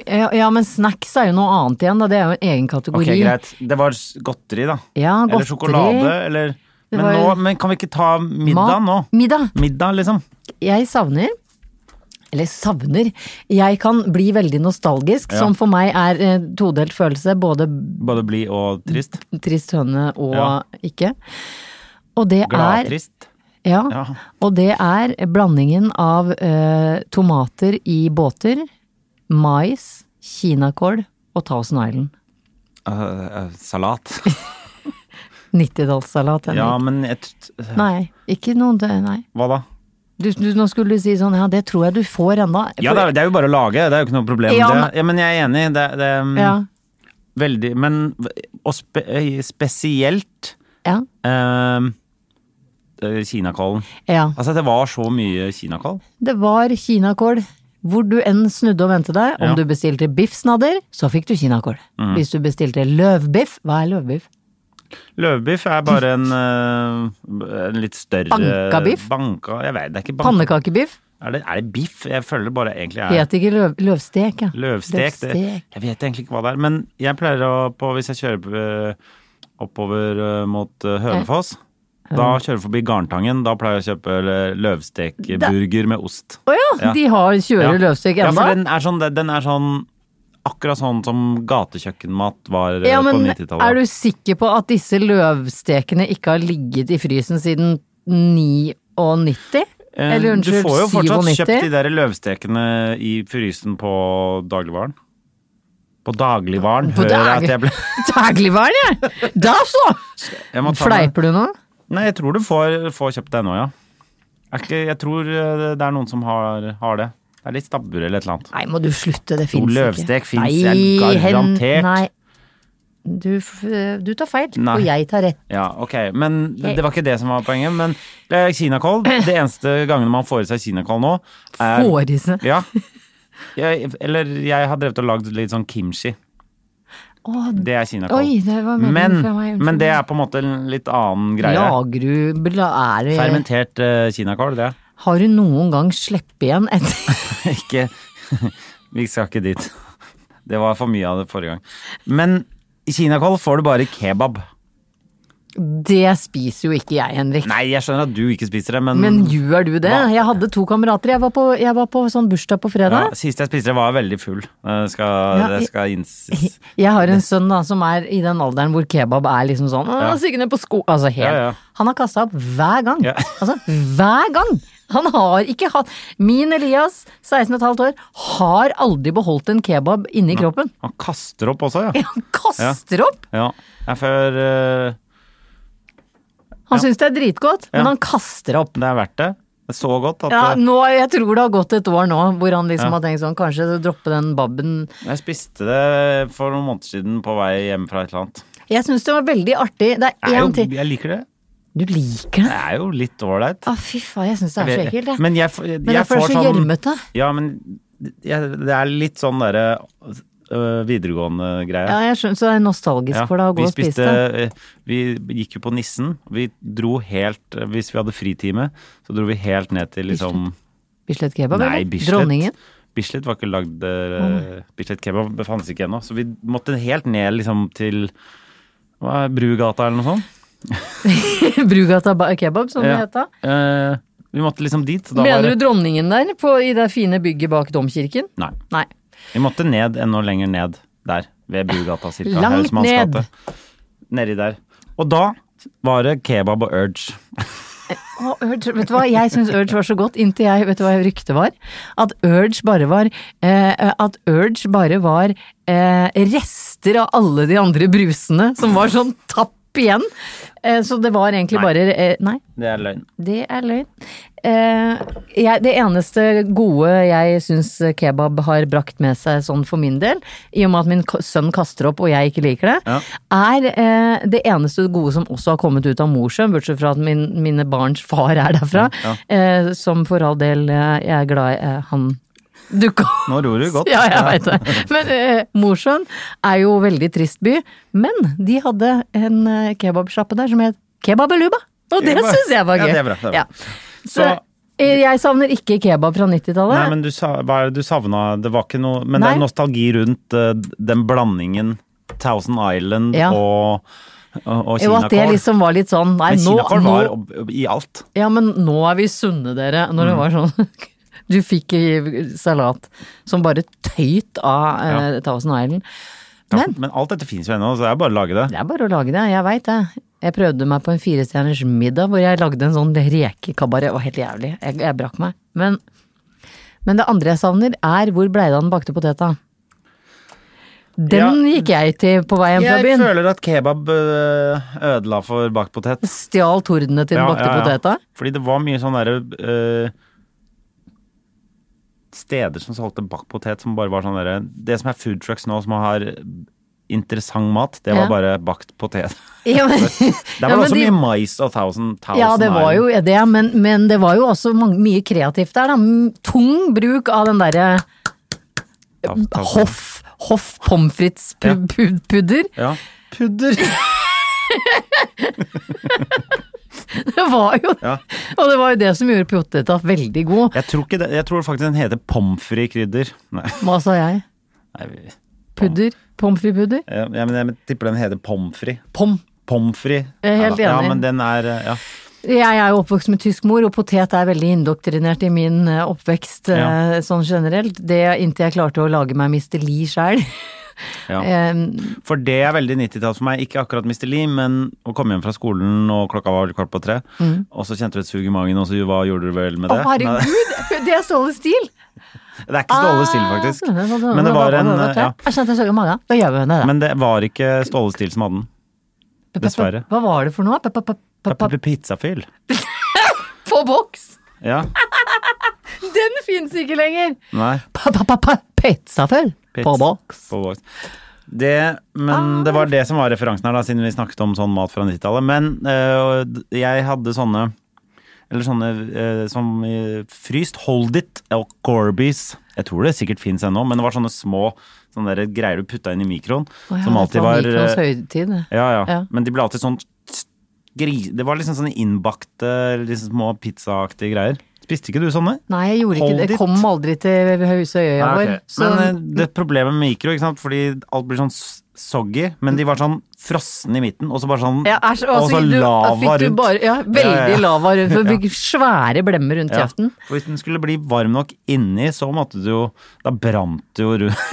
S1: Ja, ja, men snacks er jo noe annet igjen, da. Det er jo en egen
S2: Ok,
S1: kategori.
S2: greit. Det var s- godteri, da.
S1: Ja,
S2: eller
S1: godteri.
S2: sjokolade, eller men,
S1: var-
S2: nå, men kan vi ikke ta middag
S1: Mat.
S2: nå?
S1: Middag.
S2: Middag, liksom.
S1: Jeg savner eller savner. Jeg kan bli veldig nostalgisk,
S2: Ja.
S1: som for meg er eh, todelt følelse. Både
S2: Både blid og trist.
S1: trist høne og
S2: Ja.
S1: ikke. Og det er
S2: Gladtrist.
S1: Ja.
S2: Ja.
S1: Og det er blandingen av eh, tomater i båter, mais, kinakål og Thousand Island.
S2: Eh, eh, salat.
S1: 90-tallssalat.
S2: Ja,
S1: Henrik.
S2: men jeg t-
S1: Nei, ikke noe dø- Nei.
S2: Hva da?
S1: Du, du, nå skulle du si sånn ja, det tror jeg du får ennå.
S2: Ja, det er, det er jo bare å lage, det er jo ikke noe problem.
S1: Ja,
S2: det,
S1: men-
S2: ja, men jeg er enig, det, det er mm,
S1: ja,
S2: veldig Men og spe, eh, spesielt
S1: ja,
S2: eh, eh, kinakålen.
S1: ja.
S2: Altså, det var så mye kinakål.
S1: Det var kinakål. Hvor du enn snudde og vendte deg, om
S2: Ja. Mm.
S1: du bestilte biffsnadder, så fikk du kinakål. Hvis du bestilte løvbiff, hva er løvbiff?
S2: Løvbiff er bare en, eh, en litt større
S1: Banka biff?
S2: Banka, jeg vet, det er ikke banka.
S1: Pannekakebiff
S2: Er det, er det biff? Jeg føler det bare egentlig er
S1: het ikke løv, løvstek, ja.
S2: Løvstek. Det,
S1: Løvstek.
S2: jeg vet egentlig ikke hva det er. Men jeg pleier å på, Hvis jeg kjører eh, oppover eh, mot eh, Hønefoss, da kjører jeg forbi Garntangen. Da pleier jeg å kjøpe eh, løvstekburger med ost.
S1: Å ja,
S2: Ja.
S1: de har kjører løvstek
S2: Ja,
S1: ennå?
S2: for den er sånn, den er sånn Akkurat sånn som gatekjøkkenmat var eh,
S1: Ja,
S2: på
S1: men er
S2: 90-tallet.
S1: du sikker på at disse løvstekene ikke har ligget i frysen siden 99?
S2: Eh,
S1: Eller unnskyld,
S2: du får jo fortsatt
S1: 97?
S2: kjøpt de der løvstekene i frysen på dagligvaren. På dagligvaren,
S1: På
S2: hører jeg
S1: dag-
S2: at jeg ble
S1: Dagligvaren, ja! Da så!
S2: Jeg må ta meg-
S1: Fleiper du nå?
S2: Nei, jeg tror du får, får kjøpt det ennå, ja. Er ikke, jeg tror eh, det er noen som har, har det. Det er litt stabbur eller et eller annet.
S1: Nei, må du slutte, det fins ikke.
S2: løvstek finnes,
S1: Nei,
S2: jeg er
S1: hen-
S2: garantert.
S1: Nei. Du, f- du tar feil,
S2: Nei.
S1: og jeg tar rett.
S2: Ja, ok, Men
S1: Eh.
S2: det det var ikke det som var poenget. Men eh, kinakål Det eneste gangen man får i seg kinakål nå, er
S1: Får i seg.
S2: Ja. Jeg, eller jeg har drevet og lagd litt sånn kimchi.
S1: Å,
S2: Det er kinakål.
S1: Oi, det var meningen
S2: men,
S1: fra meg, unnskyld.
S2: men det er på en måte en litt annen greie.
S1: Lager du bla- er det-
S2: Fermentert eh, kinakål, det.
S1: Har du noen gang sluppet igjen etter
S2: ikke Vi skal ikke dit. Det var for mye av det forrige gang. Men i kinakål får du bare kebab.
S1: Det spiser jo ikke jeg, Henrik.
S2: Nei, jeg skjønner at du ikke spiser det, men,
S1: Men gjør du det?
S2: Hva?
S1: Jeg hadde to kamerater. Jeg var på, jeg var på sånn bursdag på
S2: ja,
S1: fredag.
S2: Sist jeg spiste det, var jeg veldig full. Eh, Skal,
S1: Ja,
S2: det
S1: jeg-
S2: skal innses.
S1: Jeg har en sønn da som er i den alderen hvor kebab er liksom sånn ja. Signe på sko Altså helt.
S2: Ja, ja.
S1: Han har kasta opp hver gang.
S2: Ja.
S1: Altså hver gang! Han har ikke hatt Min Elias, 16 15 år, har aldri beholdt en kebab inni kroppen.
S2: Han kaster opp også, ja.
S1: Han kaster opp!
S2: ja. Jeg får, eh,
S1: Han syns det er dritgodt,
S2: Ja.
S1: men han kaster opp.
S2: det er verdt det. Det er så godt at
S1: Ja,
S2: eh,
S1: nå, jeg tror det har gått et år nå hvor han liksom
S2: Ja.
S1: har tenkt sånn, kanskje droppe den babben
S2: jeg spiste det for noen måneder siden på vei hjem fra et eller annet.
S1: Jeg syns det var veldig artig. Det
S2: Jeg,
S1: er
S2: er
S1: én
S2: jo,
S1: ting
S2: jeg liker det.
S1: Du liker det?
S2: Det er jo litt ålreit.
S1: Å, fy faen, jeg syns det er så ekkelt, jeg.
S2: Men jeg, får- jeg,
S1: Men derfor er
S2: får
S1: det så
S2: sånn
S1: gjørmete.
S2: Ja, men jeg, det er litt sånn derre øh,
S1: Ja,
S2: videregående greie.
S1: jeg skjønner, så det er nostalgisk
S2: Ja,
S1: for deg å gå og spise det.
S2: øh, Vi gikk jo på Nissen. Vi dro helt øh, Hvis vi hadde fritime, så dro vi helt ned til liksom
S1: Bislett kebab,
S2: Nei,
S1: eller?
S2: Bislett.
S1: Dronningen?
S2: Bislett var ikke lagd øh, Bislett kebab det fantes ikke ennå. Så vi måtte helt ned liksom til hva er Brugata eller noe sånt.
S1: Brugata ba- kebab, som det
S2: Ja.
S1: het da.
S2: Eh, vi måtte liksom dit. så Da var
S1: Mener
S2: det-
S1: du dronningen der, på, i det fine bygget bak domkirken?
S2: Nei.
S1: Nei.
S2: Vi måtte ned enda lenger ned der, ved Brugata cirka.
S1: Langt
S2: Hausmannsgate.
S1: ned.
S2: Nedi der. Og da var det kebab og urge.
S1: Å, Urge, vet du hva, jeg syns Urge var så godt inntil jeg Vet du hva ryktet var? At Urge bare var eh, At Urge bare var eh, rester av alle de andre brusene som var sånn tapp opp igjen. Eh, Så det var egentlig
S2: Nei.
S1: bare eh, Nei,
S2: Det er løgn.
S1: det er løgn. Eh, Jeg, det eneste gode jeg syns kebab har brakt med seg sånn for min del, i og med at min k- sønn kaster opp og jeg ikke liker det,
S2: Ja.
S1: er eh, det eneste gode som også har kommet ut av Mosjøen, bortsett fra at min, mine barns far er derfra, eh, som for all del eh, jeg er glad i eh, han dukka opp.
S2: Nå ror du godt.
S1: Ja, jeg veit det. Men eh, Mosjøen er jo veldig trist by. Men de hadde en eh, kebabsjappe der som het Kebabeluba. Og det
S2: Kebab.
S1: syns jeg var
S2: Ja,
S1: gøy.
S2: det er bra, det er bra.
S1: Ja. Så
S2: Så-
S1: eh, jeg savner ikke kebab fra
S2: Nei,
S1: 90-tallet.
S2: men du, sa, hva er det du savna Det var ikke noe Men det
S1: Nei.
S2: er nostalgi rundt eh, den blandingen Thousand Island
S1: Ja.
S2: og, og, og
S1: Jo, at det
S2: kinakål.
S1: liksom var litt sånn Nei,
S2: Men
S1: nå,
S2: kinakål
S1: nå,
S2: var ob- ob- i alt.
S1: ja, men nå er vi sunne, dere.
S2: Mm.
S1: Når det var sånn Du fikk eh, salat som bare tøyt av eh, Thousand Island. Men
S2: Men, alt dette fins jo ennå, så det er bare å lage det.
S1: Det er bare å lage det, jeg veit det. Jeg prøvde meg på en firestjerners middag hvor jeg lagde en sånn rekekabaret. Det var helt jævlig. Jeg, jeg brakk meg. Men, men det andre jeg savner, er hvor blei det av den bakte poteta? Den gikk jeg til på vei hjem fra
S2: Jeg
S1: byen.
S2: føler at kebab øh, ødela for bakt potet.
S1: Stjal tordene til den
S2: Ja,
S1: bakte
S2: ja, ja.
S1: poteta.
S2: Fordi det var mye sånn derre øh, Steder som solgte bakt potet som bare var sånn derre Det som er food trucks nå, som har interessant mat, det var
S1: Ja.
S2: bare bakt potet.
S1: Ja, men,
S2: Der var
S1: ja,
S2: det
S1: men
S2: også
S1: de-
S2: mye mais og thousand, thousand
S1: ja, det var
S2: Island.
S1: jo det, men, men det var jo også mange, mye kreativt der, da. M- Tung bruk av den derre
S2: Thousand- thousand-
S1: hoff, hoff pommes frites-pudder.
S2: Ja. Pudder!
S1: Det var jo
S2: Ja.
S1: Og det var jo det som gjorde poteta veldig god.
S2: Jeg tror, ikke det, jeg tror faktisk den heter pommes frites krydder. Nei.
S1: Hva sa jeg?
S2: Nei, vi-
S1: Pudder? Pommes frites-pudder?
S2: ja, men jeg tipper den heter pommes frites.
S1: Pom.
S2: Pommes frites.
S1: Jeg er helt
S2: Neida.
S1: enig.
S2: Ja, men den er øh, ja.
S1: Jeg er jo oppvokst med tysk mor, og potet er veldig indoktrinert i min eh, oppvekst
S2: Ja.
S1: eh, sånn generelt. Det Inntil jeg klarte å lage meg Mr. Lee sjæl.
S2: ja.
S1: Eh,
S2: For det er veldig 90-tall for meg. Ikke akkurat Mr. Lee, men å komme hjem fra skolen, og klokka var kvart på tre, og så kjente du et sug i magen, og så hva gjorde du vel med
S1: Å,
S2: det? Nei,
S1: herregud! Det er Ståle Stil! Ah,
S2: det er ikke Ståle Stil, faktisk. Men Ah, det var en ja.
S1: Jeg kjente jeg så i magen. Da gjør vi det.
S2: Men det var ikke Ståle Stil som hadde den. dessverre.
S1: Hva var det for noe? Pa- pa- pa- pa- pa-
S2: Pizzafyll.
S1: På boks!
S2: Ja.
S1: Den fins ikke lenger!
S2: Nei.
S1: Pa- pa- pa- pa- Pizzaføll på
S2: Pizza.
S1: boks.
S2: På boks. Det, men det var det som var referansen her, da, siden vi snakket om sånn mat fra 90-tallet. Men øh, jeg hadde sånne eller sånne øh, som øh, fryst Hold It og Corbies. Jeg tror det sikkert fins ennå, men det var sånne små sånne der greier du putta inn i mikroen.
S1: Å ja,
S2: som
S1: dette
S2: alltid var
S1: Mikros
S2: øh,
S1: høytid. det.
S2: ja, ja,
S1: Ja.
S2: Men de ble alltid sånn gri, Det var liksom sånne innbakte, liksom små pizzaaktige greier. Spiste ikke du sånne?
S1: Nei, jeg gjorde ikke
S2: Hold
S1: det. Det
S2: it.
S1: kom aldri til huset og øya
S2: Ja,
S1: vår.
S2: Ah, ok.
S1: Så
S2: Men eh, det er problemet med mikro, ikke sant? fordi alt blir sånn s- soggy, men de var sånn frosne i midten, og så bare sånn
S1: ja, æsj,
S2: og så
S1: du-
S2: lava
S1: fikk du
S2: rundt.
S1: Bare, ja, veldig
S2: Ja, ja, ja.
S1: lava rundt. For fikk svære blemmer rundt
S2: Ja.
S1: kjeften.
S2: For hvis den skulle bli varm nok inni, så måtte du jo Da brant det jo rundt.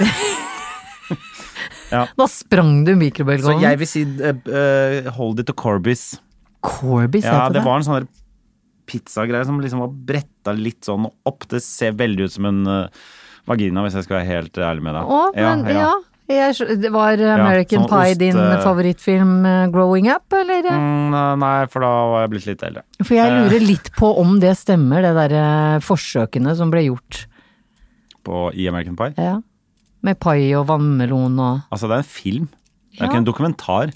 S1: Da sprang du
S2: Så
S1: mikrobølgeovnen.
S2: jeg vil si eh, eh, hold it to Corbis.
S1: Corbis
S2: Ja,
S1: het
S2: det
S1: det.
S2: var en sånn der pizzagreie som liksom var bretta litt sånn opp. Det ser veldig ut som en eh, vagina, hvis jeg skal være helt ærlig med deg.
S1: Å, men ja. Jeg, skj- det var eh, American
S2: sånn
S1: Pie
S2: ost,
S1: din
S2: eh,
S1: favorittfilm eh, growing up, eller?
S2: Mm, Eh. Nei, for da var jeg blitt litt eldre.
S1: For jeg lurer litt på om det stemmer, det derre forsøkene som ble gjort.
S2: På, I American Pie.
S1: Ja. Med pai og vannmelon og
S2: Altså, det er en film. Det
S1: Ja.
S2: er ikke en dokumentar.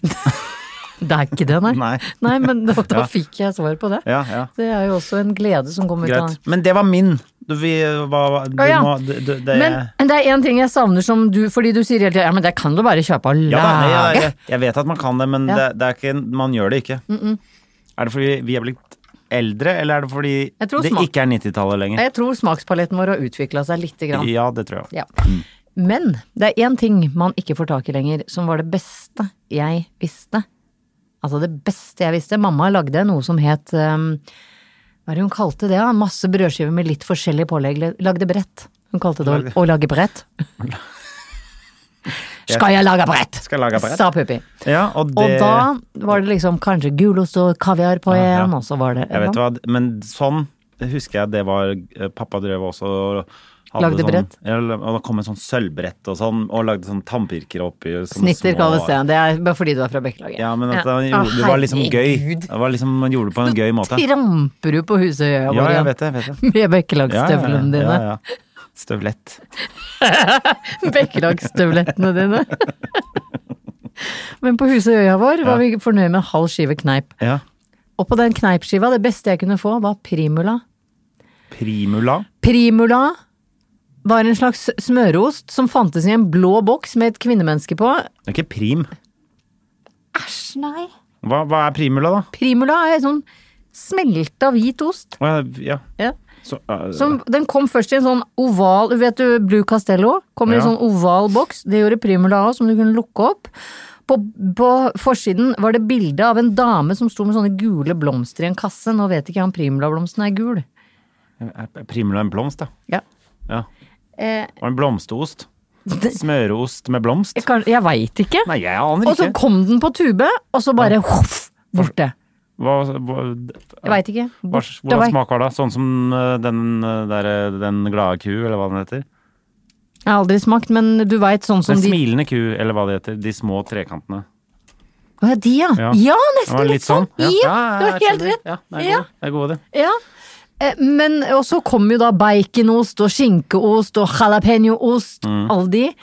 S1: Det er ikke det, nei.
S2: Nei.
S1: men da, da
S2: Ja.
S1: fikk jeg svar på det.
S2: Ja, ja.
S1: Det er jo også en glede som kommer ut av
S2: Greit. Men det var min. Du, vi, hva, hva- du
S1: Å, ja.
S2: må du, du, det,
S1: Men det er én ting jeg savner som du Fordi du sier hele tida ja, men det kan du bare kjøpe og lage.
S2: ja, da, nei, ja, jeg, jeg vet at man kan det, men
S1: Ja.
S2: det, det er ikke, man gjør det ikke. Er det fordi vi er blitt eldre, eller er det fordi
S1: Jeg tror
S2: det
S1: smak-
S2: ikke er 90-tallet lenger?
S1: Jeg tror smakspaletten vår har utvikla seg lite grann.
S2: Ja, det tror jeg.
S1: Ja. Men det er én ting man ikke får tak i lenger, som var det beste jeg visste. Altså det beste jeg visste. Mamma lagde noe som het um, Hva er det hun kalte det? da? Masse brødskiver med litt forskjellig pålegg. Lagde brett. Hun kalte det å, å lage brett. Skal jeg lage brett?
S2: Skal jeg lage brett?
S1: Sa Puppi.
S2: Ja, og det,
S1: Og da var det liksom kanskje gulost og kaviar på
S2: Ja, ja.
S1: en, og så var det
S2: Jeg vet hva, men sånn husker jeg det var eh, Pappa drev også og
S1: Lagde
S2: sånn,
S1: brett?
S2: Ja, og det kom en sånn sølvbrett og sånn, og lagde sånn tannpirkere oppi. sånne
S1: Snitter
S2: små-
S1: kalles det. Det er bare fordi du er fra Bekkelaget.
S2: Ja, men at
S1: Ja.
S2: han gjorde, det var liksom
S1: Å,
S2: gøy.
S1: herregud.
S2: Det var liksom, man gjorde det på en gøy måte.
S1: Tramper du på Husøya
S2: Ja, jeg vet det. jeg vet
S1: Med
S2: det. Ja, ja, ja,
S1: Bekkelagsstøvlene dine.
S2: ja, ja. Støvlett.
S1: Bekkelagsstøvlettene dine. Men på Husøya vår var vi fornøyd med en halv skive kneip.
S2: Ja.
S1: Og på den kneipskiva, det beste jeg kunne få, var primula.
S2: Primula.
S1: Primula var en slags smørost som fantes i en blå boks med et kvinnemenneske på.
S2: Det er ikke prim.
S1: Æsj, nei.
S2: Hva, hva er primula, da?
S1: Primula er en sånn smelta hvit ost.
S2: Å, ja, ja.
S1: Ja.
S2: Så, eh,
S1: Som, den kom først i en sånn oval Vet du, Blue Castello kom i en
S2: Ja.
S1: sånn oval boks. Det gjorde Primula òg, som du kunne lukke opp. På, på forsiden var det bilde av en dame som sto med sånne gule blomster i en kasse. Nå vet ikke jeg om Primula-blomsten er gul.
S2: er primula en blomst, da?
S1: Ja.
S2: Ja.
S1: Eh,
S2: Og en blomsteost. Smøreost med blomst?
S1: jeg kan- jeg veit ikke.
S2: Nei, jeg aner
S1: Og så
S2: ikke.
S1: kom den på tube, og så bare hoff, borte.
S2: Hva, hva,
S1: Jeg veit ikke.
S2: hva,
S1: Borte
S2: hvordan
S1: vei.
S2: smaker det? da? Sånn som eh, den, eh, der, eh, den glade ku, eller hva den heter?
S1: Jeg har aldri smakt, men du veit sånn som
S2: Den
S1: de
S2: smilende ku, eller hva det heter. De små trekantene.
S1: Å ja, de, ja.
S2: Ja.
S1: Ja,
S2: Det var
S1: nesten litt sånn. Ja, du har
S2: jeg
S1: helt
S2: skjønner.
S1: rett.
S2: Ja, det er
S1: Ja.
S2: gode, det er gode.
S1: Ja. Eh, Men Og så kom jo da baconost og skinkeost og jalapeñoost,
S2: Mm.
S1: alle de.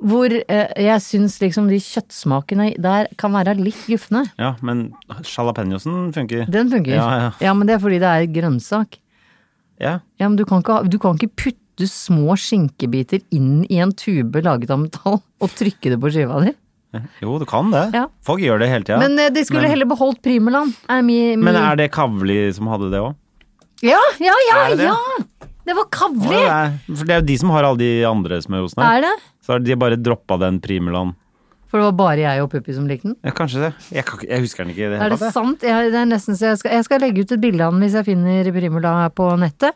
S1: Hvor eh, jeg syns liksom de kjøttsmakene der kan være litt gufne.
S2: Ja, men jalapeñosen funker.
S1: Den funker.
S2: Ja, ja.
S1: men det er fordi det er grønnsak.
S2: Ja.
S1: Ja, men du kan ikke, ha- du kan ikke putte små skinkebiter inn i en tube laget av metall og trykke det på skiva di.
S2: Jo, du kan det.
S1: Ja.
S2: Folk gjør det hele tida.
S1: men eh, de skulle heller beholdt primulaen. Er mi, mi...
S2: men er det Kavli som hadde det òg?
S1: Ja, ja, ja!
S2: Er det
S1: Det,
S2: det?
S1: ja. det var kavli!
S2: For det er jo de som har alle de andre smørosene.
S1: er det?
S2: Så har de bare droppa den primulaen.
S1: For det var bare jeg og Puppi som likte den.
S2: Ja, kanskje det. Jeg, kan ikke- jeg husker den ikke i det
S1: Er
S2: hele
S1: det
S2: tatt. jeg.
S1: sant? Jeg, det er nesten så jeg skal, jeg skal legge ut et bilde av den hvis jeg finner primula på nettet.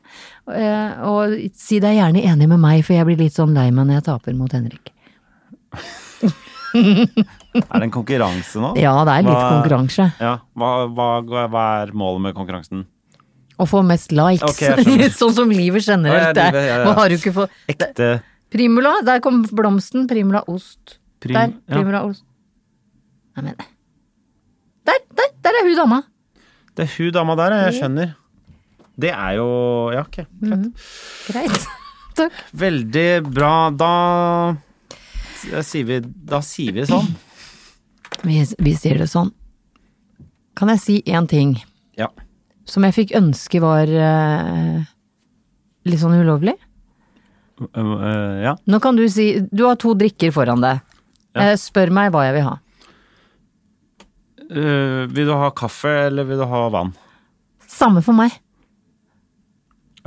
S1: Eh, og si deg gjerne enig med meg, for jeg blir litt sånn lei meg når jeg taper mot Henrik.
S2: Er det en konkurranse nå?
S1: Ja, det er litt
S2: Hva-
S1: konkurranse.
S2: Ja. Hva, hva, hva er målet med konkurransen?
S1: Å få mest likes.
S2: Ok, jeg skjønner.
S1: sånn som livet
S2: Ja, ja,
S1: generelt er.
S2: livet, ja, ja.
S1: Hva har du ikke fått?
S2: Ekte
S1: Primula, der kom blomsten. Primula ost.
S2: prim...
S1: Der.
S2: ja.
S1: Primula ost. Nei, men Der, der, der er hun dama.
S2: Det er hun dama der, jeg skjønner. Det er jo Ja, ok.
S1: Mm. Greit. Takk.
S2: Veldig bra. Da da sier vi, da sier vi sånn.
S1: Vi, vi sier det sånn. Kan jeg si én ting?
S2: Ja.
S1: som jeg fikk ønske var eh, litt sånn ulovlig.
S2: Øh, øh, ja.
S1: Nå kan du si Du har to drikker foran deg. Eh, spør meg hva jeg vil ha.
S2: Øh, vil du ha kaffe, eller vil du ha vann?
S1: Samme for meg.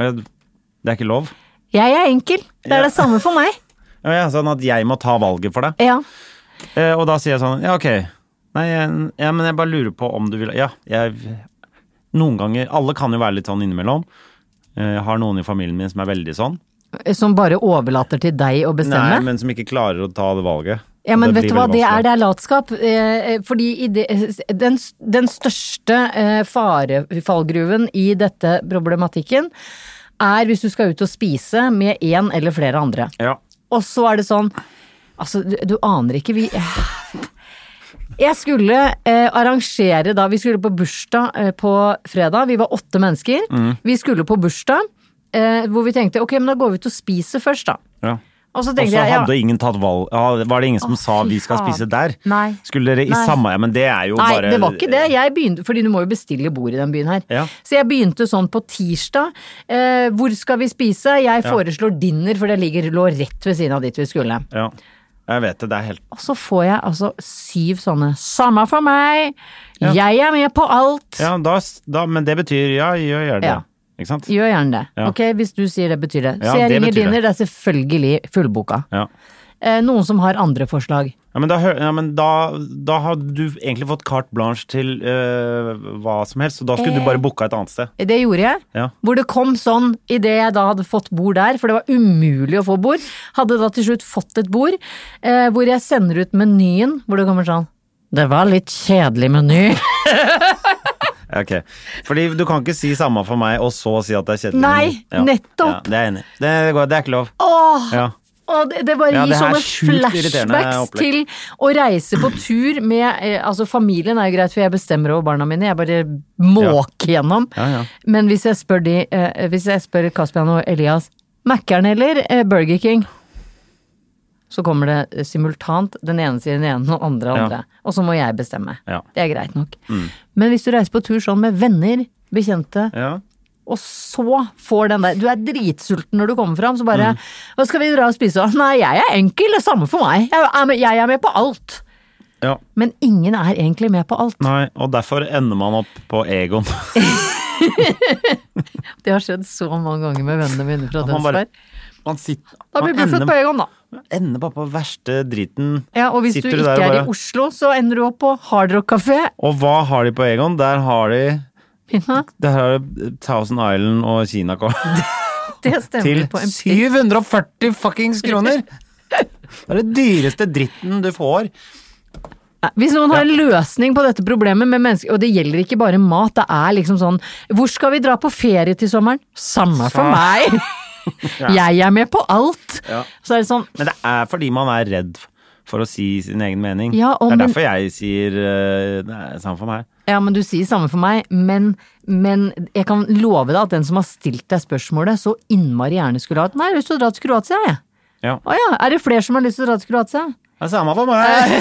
S2: Øh, Det er ikke lov?
S1: Jeg er enkel. Det er
S2: Ja.
S1: det samme for meg.
S2: Ja, ja, sånn at jeg må ta valget for deg.
S1: Ja.
S2: Eh, og da sier jeg sånn, ja, ok. Nei, jeg- ja, men jeg bare lurer på om du vil Ja, jeg Noen ganger Alle kan jo være litt sånn innimellom. Eh, Jeg har noen i familien min som er veldig sånn.
S1: Som bare overlater til deg å
S2: Nei,
S1: bestemme.
S2: men som ikke klarer å ta det valget.
S1: ja, men
S2: Og
S1: vet
S2: blir
S1: du hva,
S2: veldig
S1: det er,
S2: vanskelig.
S1: det er latskap. Eh, eh, fordi i det, den, den største eh, farefallgruven i dette problematikken er hvis du skal ut og spise med én eller flere andre.
S2: Ja.
S1: Og så er det sånn Altså, du, du aner ikke, vi Jeg skulle eh, arrangere da Vi skulle på bursdag eh, på fredag. Vi var åtte mennesker.
S2: Mm.
S1: Vi skulle på bursdag, eh, hvor vi tenkte ok, men da går vi ut og spiser først, da.
S2: ja.
S1: Og så
S2: Og
S1: tenkte
S2: så
S1: jeg ja,
S2: hadde ingen tatt valg ja, Var det ingen som
S1: Å,
S2: sa
S1: fy
S2: 'vi skal
S1: faen.
S2: spise der'?
S1: Nei.
S2: Skulle dere i
S1: Nei.
S2: samme Ja, men det er jo
S1: Nei,
S2: bare
S1: det var ikke det. Jeg begynte, fordi du må jo bestille bord i den byen her.
S2: Ja.
S1: Så jeg begynte sånn på tirsdag. Eh, hvor skal vi spise? Jeg foreslår dinner, for det ligger, lå rett ved siden av dit vi skulle.
S2: Ja. Jeg vet det. Det er helt
S1: Og så får jeg altså syv sånne 'samme for meg', 'jeg er med på alt'.
S2: Ja, da, da, men det betyr ja, gjør gjør det.
S1: Ja.
S2: Ikke sant?
S1: Gjør gjerne det.
S2: Ja.
S1: Ok, Hvis du sier det, betyr det.
S2: Ja,
S1: så jeg
S2: det
S1: ringer
S2: betyr
S1: dinner,
S2: det.
S1: det. er selvfølgelig fullboka.
S2: Ja.
S1: Eh, noen som har andre forslag.
S2: Ja, men da, hø- ja, men da, da har du egentlig fått carte blanche til øh, hva som helst, så da
S1: Eh.
S2: skulle du bare booka et annet sted.
S1: Det gjorde jeg.
S2: Ja.
S1: Hvor det kom sånn idet jeg da hadde fått bord der, for det var umulig å få bord. Hadde da til slutt fått et bord eh, hvor jeg sender ut menyen, hvor det kommer sånn Det var litt kjedelig meny.
S2: Ok. Fordi du kan ikke si samme for meg, og så si at det er kjedelig.
S1: Nei, nettopp.
S2: Ja, det er jeg enig. i. Det, det, går, det er ikke lov.
S1: Åh,
S2: Ja.
S1: Og det, det bare
S2: Ja,
S1: gir
S2: det her
S1: sånne
S2: er sjukt irriterende
S1: flashbacks til
S2: opplegg.
S1: å reise på tur med eh, Altså, familien er jo greit, for jeg bestemmer over barna mine, jeg bare måker gjennom.
S2: Ja, ja.
S1: Men hvis jeg spør de eh, Hvis jeg spør Kaspian og Elias Mækkern eller eh, Burger King? Så kommer det eh, simultant. Den ene sier den ene, og den andre
S2: Ja.
S1: andre. Og så må jeg bestemme.
S2: Ja. Mm.
S1: Det er greit nok. Men hvis du reiser på tur sånn med venner, bekjente,
S2: Ja.
S1: og så får den der Du er dritsulten når du kommer fram, så bare
S2: Mm.
S1: Hva skal vi dra og spise? av?» Nei, jeg er enkel, det er samme for meg. Jeg er, med, jeg er med på alt.
S2: ja.
S1: Men ingen er egentlig med på alt.
S2: Nei, og derfor ender man opp på Egon.
S1: Det har skjedd så mange ganger med vennene mine fra
S2: Og man bare-
S1: Tønsberg.
S2: Man sitter
S1: Da blir
S2: man
S1: Buffett på
S2: ender,
S1: Egon, da.
S2: ender bare på verste driten.
S1: Ja, og hvis
S2: Sitter
S1: du
S2: der
S1: ikke
S2: og
S1: er
S2: bare-
S1: i Oslo, så ender du opp på Hard Rock Café.
S2: Og hva har de på Egon? Der har de
S1: Ja,
S2: der har de Thousand Island og kinakål
S1: det stemmer
S2: til
S1: på en
S2: 740 fuckings kroner! Det er det dyreste dritten du får.
S1: Nei, Eh, Hvis noen har en løsning på dette problemet med mennesker, og det gjelder ikke bare mat, det er liksom sånn Hvor skal vi dra på ferie til sommeren? Samme for
S2: Sa-
S1: meg! Jeg er med på alt!
S2: Ja.
S1: Så er det sånn
S2: Men det er fordi man er redd for å si sin egen mening.
S1: Ja, og
S2: det er
S1: men-
S2: derfor jeg sier eh, det er samme for meg.
S1: Ja, men du sier samme for meg, men, men jeg kan love deg at den som har stilt deg spørsmålet, så innmari gjerne skulle ha hatt Nei, jeg har lyst til å dra til Kroatia, jeg.
S2: Ja.
S1: Å ja, er det flere som har lyst til å dra til Kroatia?
S2: Det er samme for meg!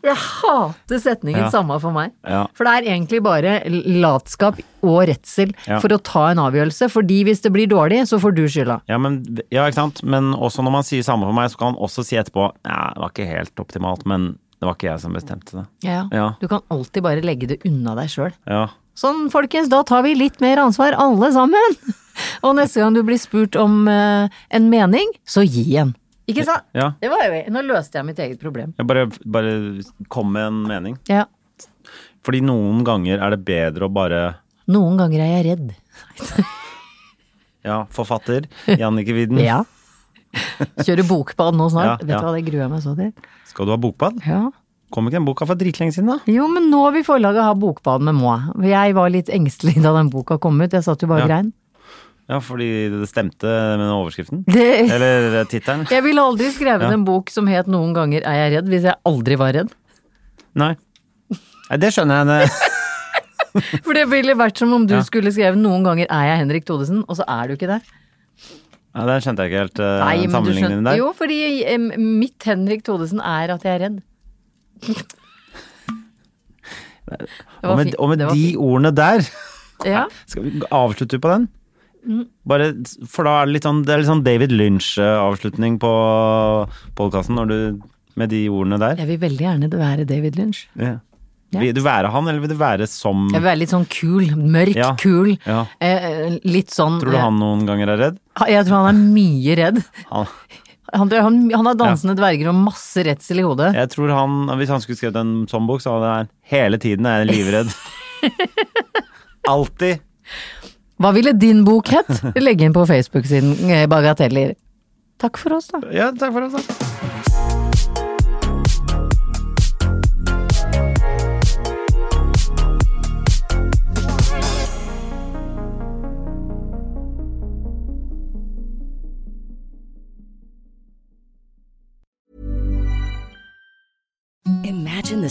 S1: Jeg hater setningen
S2: Ja.
S1: 'samme for meg'.
S2: Ja.
S1: For det er egentlig bare latskap og redsel
S2: Ja.
S1: for å ta en avgjørelse. Fordi hvis det blir dårlig, så får du skylda.
S2: Ja, men, ja, ikke sant? Men også når man sier samme for meg, så kan man også si etterpå ja, det var ikke helt optimalt, men det var ikke jeg som bestemte det. Ja.
S1: Du kan alltid bare legge det unna deg sjøl.
S2: Ja.
S1: Sånn, folkens, da tar vi litt mer ansvar, alle sammen. Og neste gang du blir spurt om eh, en mening, så gi en. Ikke sant?
S2: Ja.
S1: Det var jo Nå løste jeg mitt eget problem.
S2: Jeg bare, bare kom med en mening.
S1: Ja.
S2: Fordi noen ganger er det bedre å bare
S1: Noen ganger er jeg redd.
S2: Ja, forfatter. Jannicke Widen.
S1: Ja. Kjøre bokbad nå
S2: Mm. Ja,
S1: snart. Vet
S2: ja.
S1: du hva, det gruer jeg meg så til.
S2: Skal du ha bokbad?
S1: Ja.
S2: Kom ikke den boka for dritlenge siden, da?
S1: Jo, men nå vil forlaget ha bokbad med Moa. Jeg var litt engstelig da den boka kom ut, jeg satt jo bare og
S2: Ja.
S1: grein.
S2: Ja, fordi det stemte med den overskriften.
S1: Det,
S2: Eller eh, tittelen.
S1: jeg ville aldri skrevet en bok som het 'Noen ganger er jeg redd', hvis jeg aldri var redd.
S2: Nei. Nei, det skjønner jeg. det-
S1: For det ville vært som om du
S2: Ja.
S1: skulle skrevet 'Noen ganger er jeg Henrik Thodesen', og så er du ikke det.
S2: Ja, der skjønte jeg ikke helt eh,
S1: Nei, men du
S2: sammenligningen din
S1: skjønner
S2: der.
S1: Jo, fordi eh, mitt Henrik Thodesen er at jeg er redd. Det var
S2: og med,
S1: fint,
S2: og med
S1: det var
S2: de
S1: fint.
S2: ordene der
S1: Ja.
S2: Skal vi avslutte på den? Bare, for da er det litt sånn, det er litt sånn David Lynch-avslutning på podkasten med de ordene der.
S1: Jeg vil veldig gjerne være David Lynch.
S2: Ja. Vil du være han, eller vil du være som
S1: Jeg vil være litt sånn kul, mørk
S2: Ja.
S1: kul.
S2: Ja.
S1: Eh, litt sånn
S2: Tror du han noen ganger er redd?
S1: eh, Jeg tror han er mye redd.
S2: Han,
S1: Han, tror- han, han har dansende dverger og masse redsel i hodet.
S2: jeg tror han, Hvis han skulle skrevet en sånn bok, så hadde han hele tiden er jeg livredd. Alltid.
S1: Hva ville din bok hett? Legg inn på Facebook-siden eh, Bagateller. Takk for oss, da.
S2: Ja, takk for oss, da.
S3: Imagine the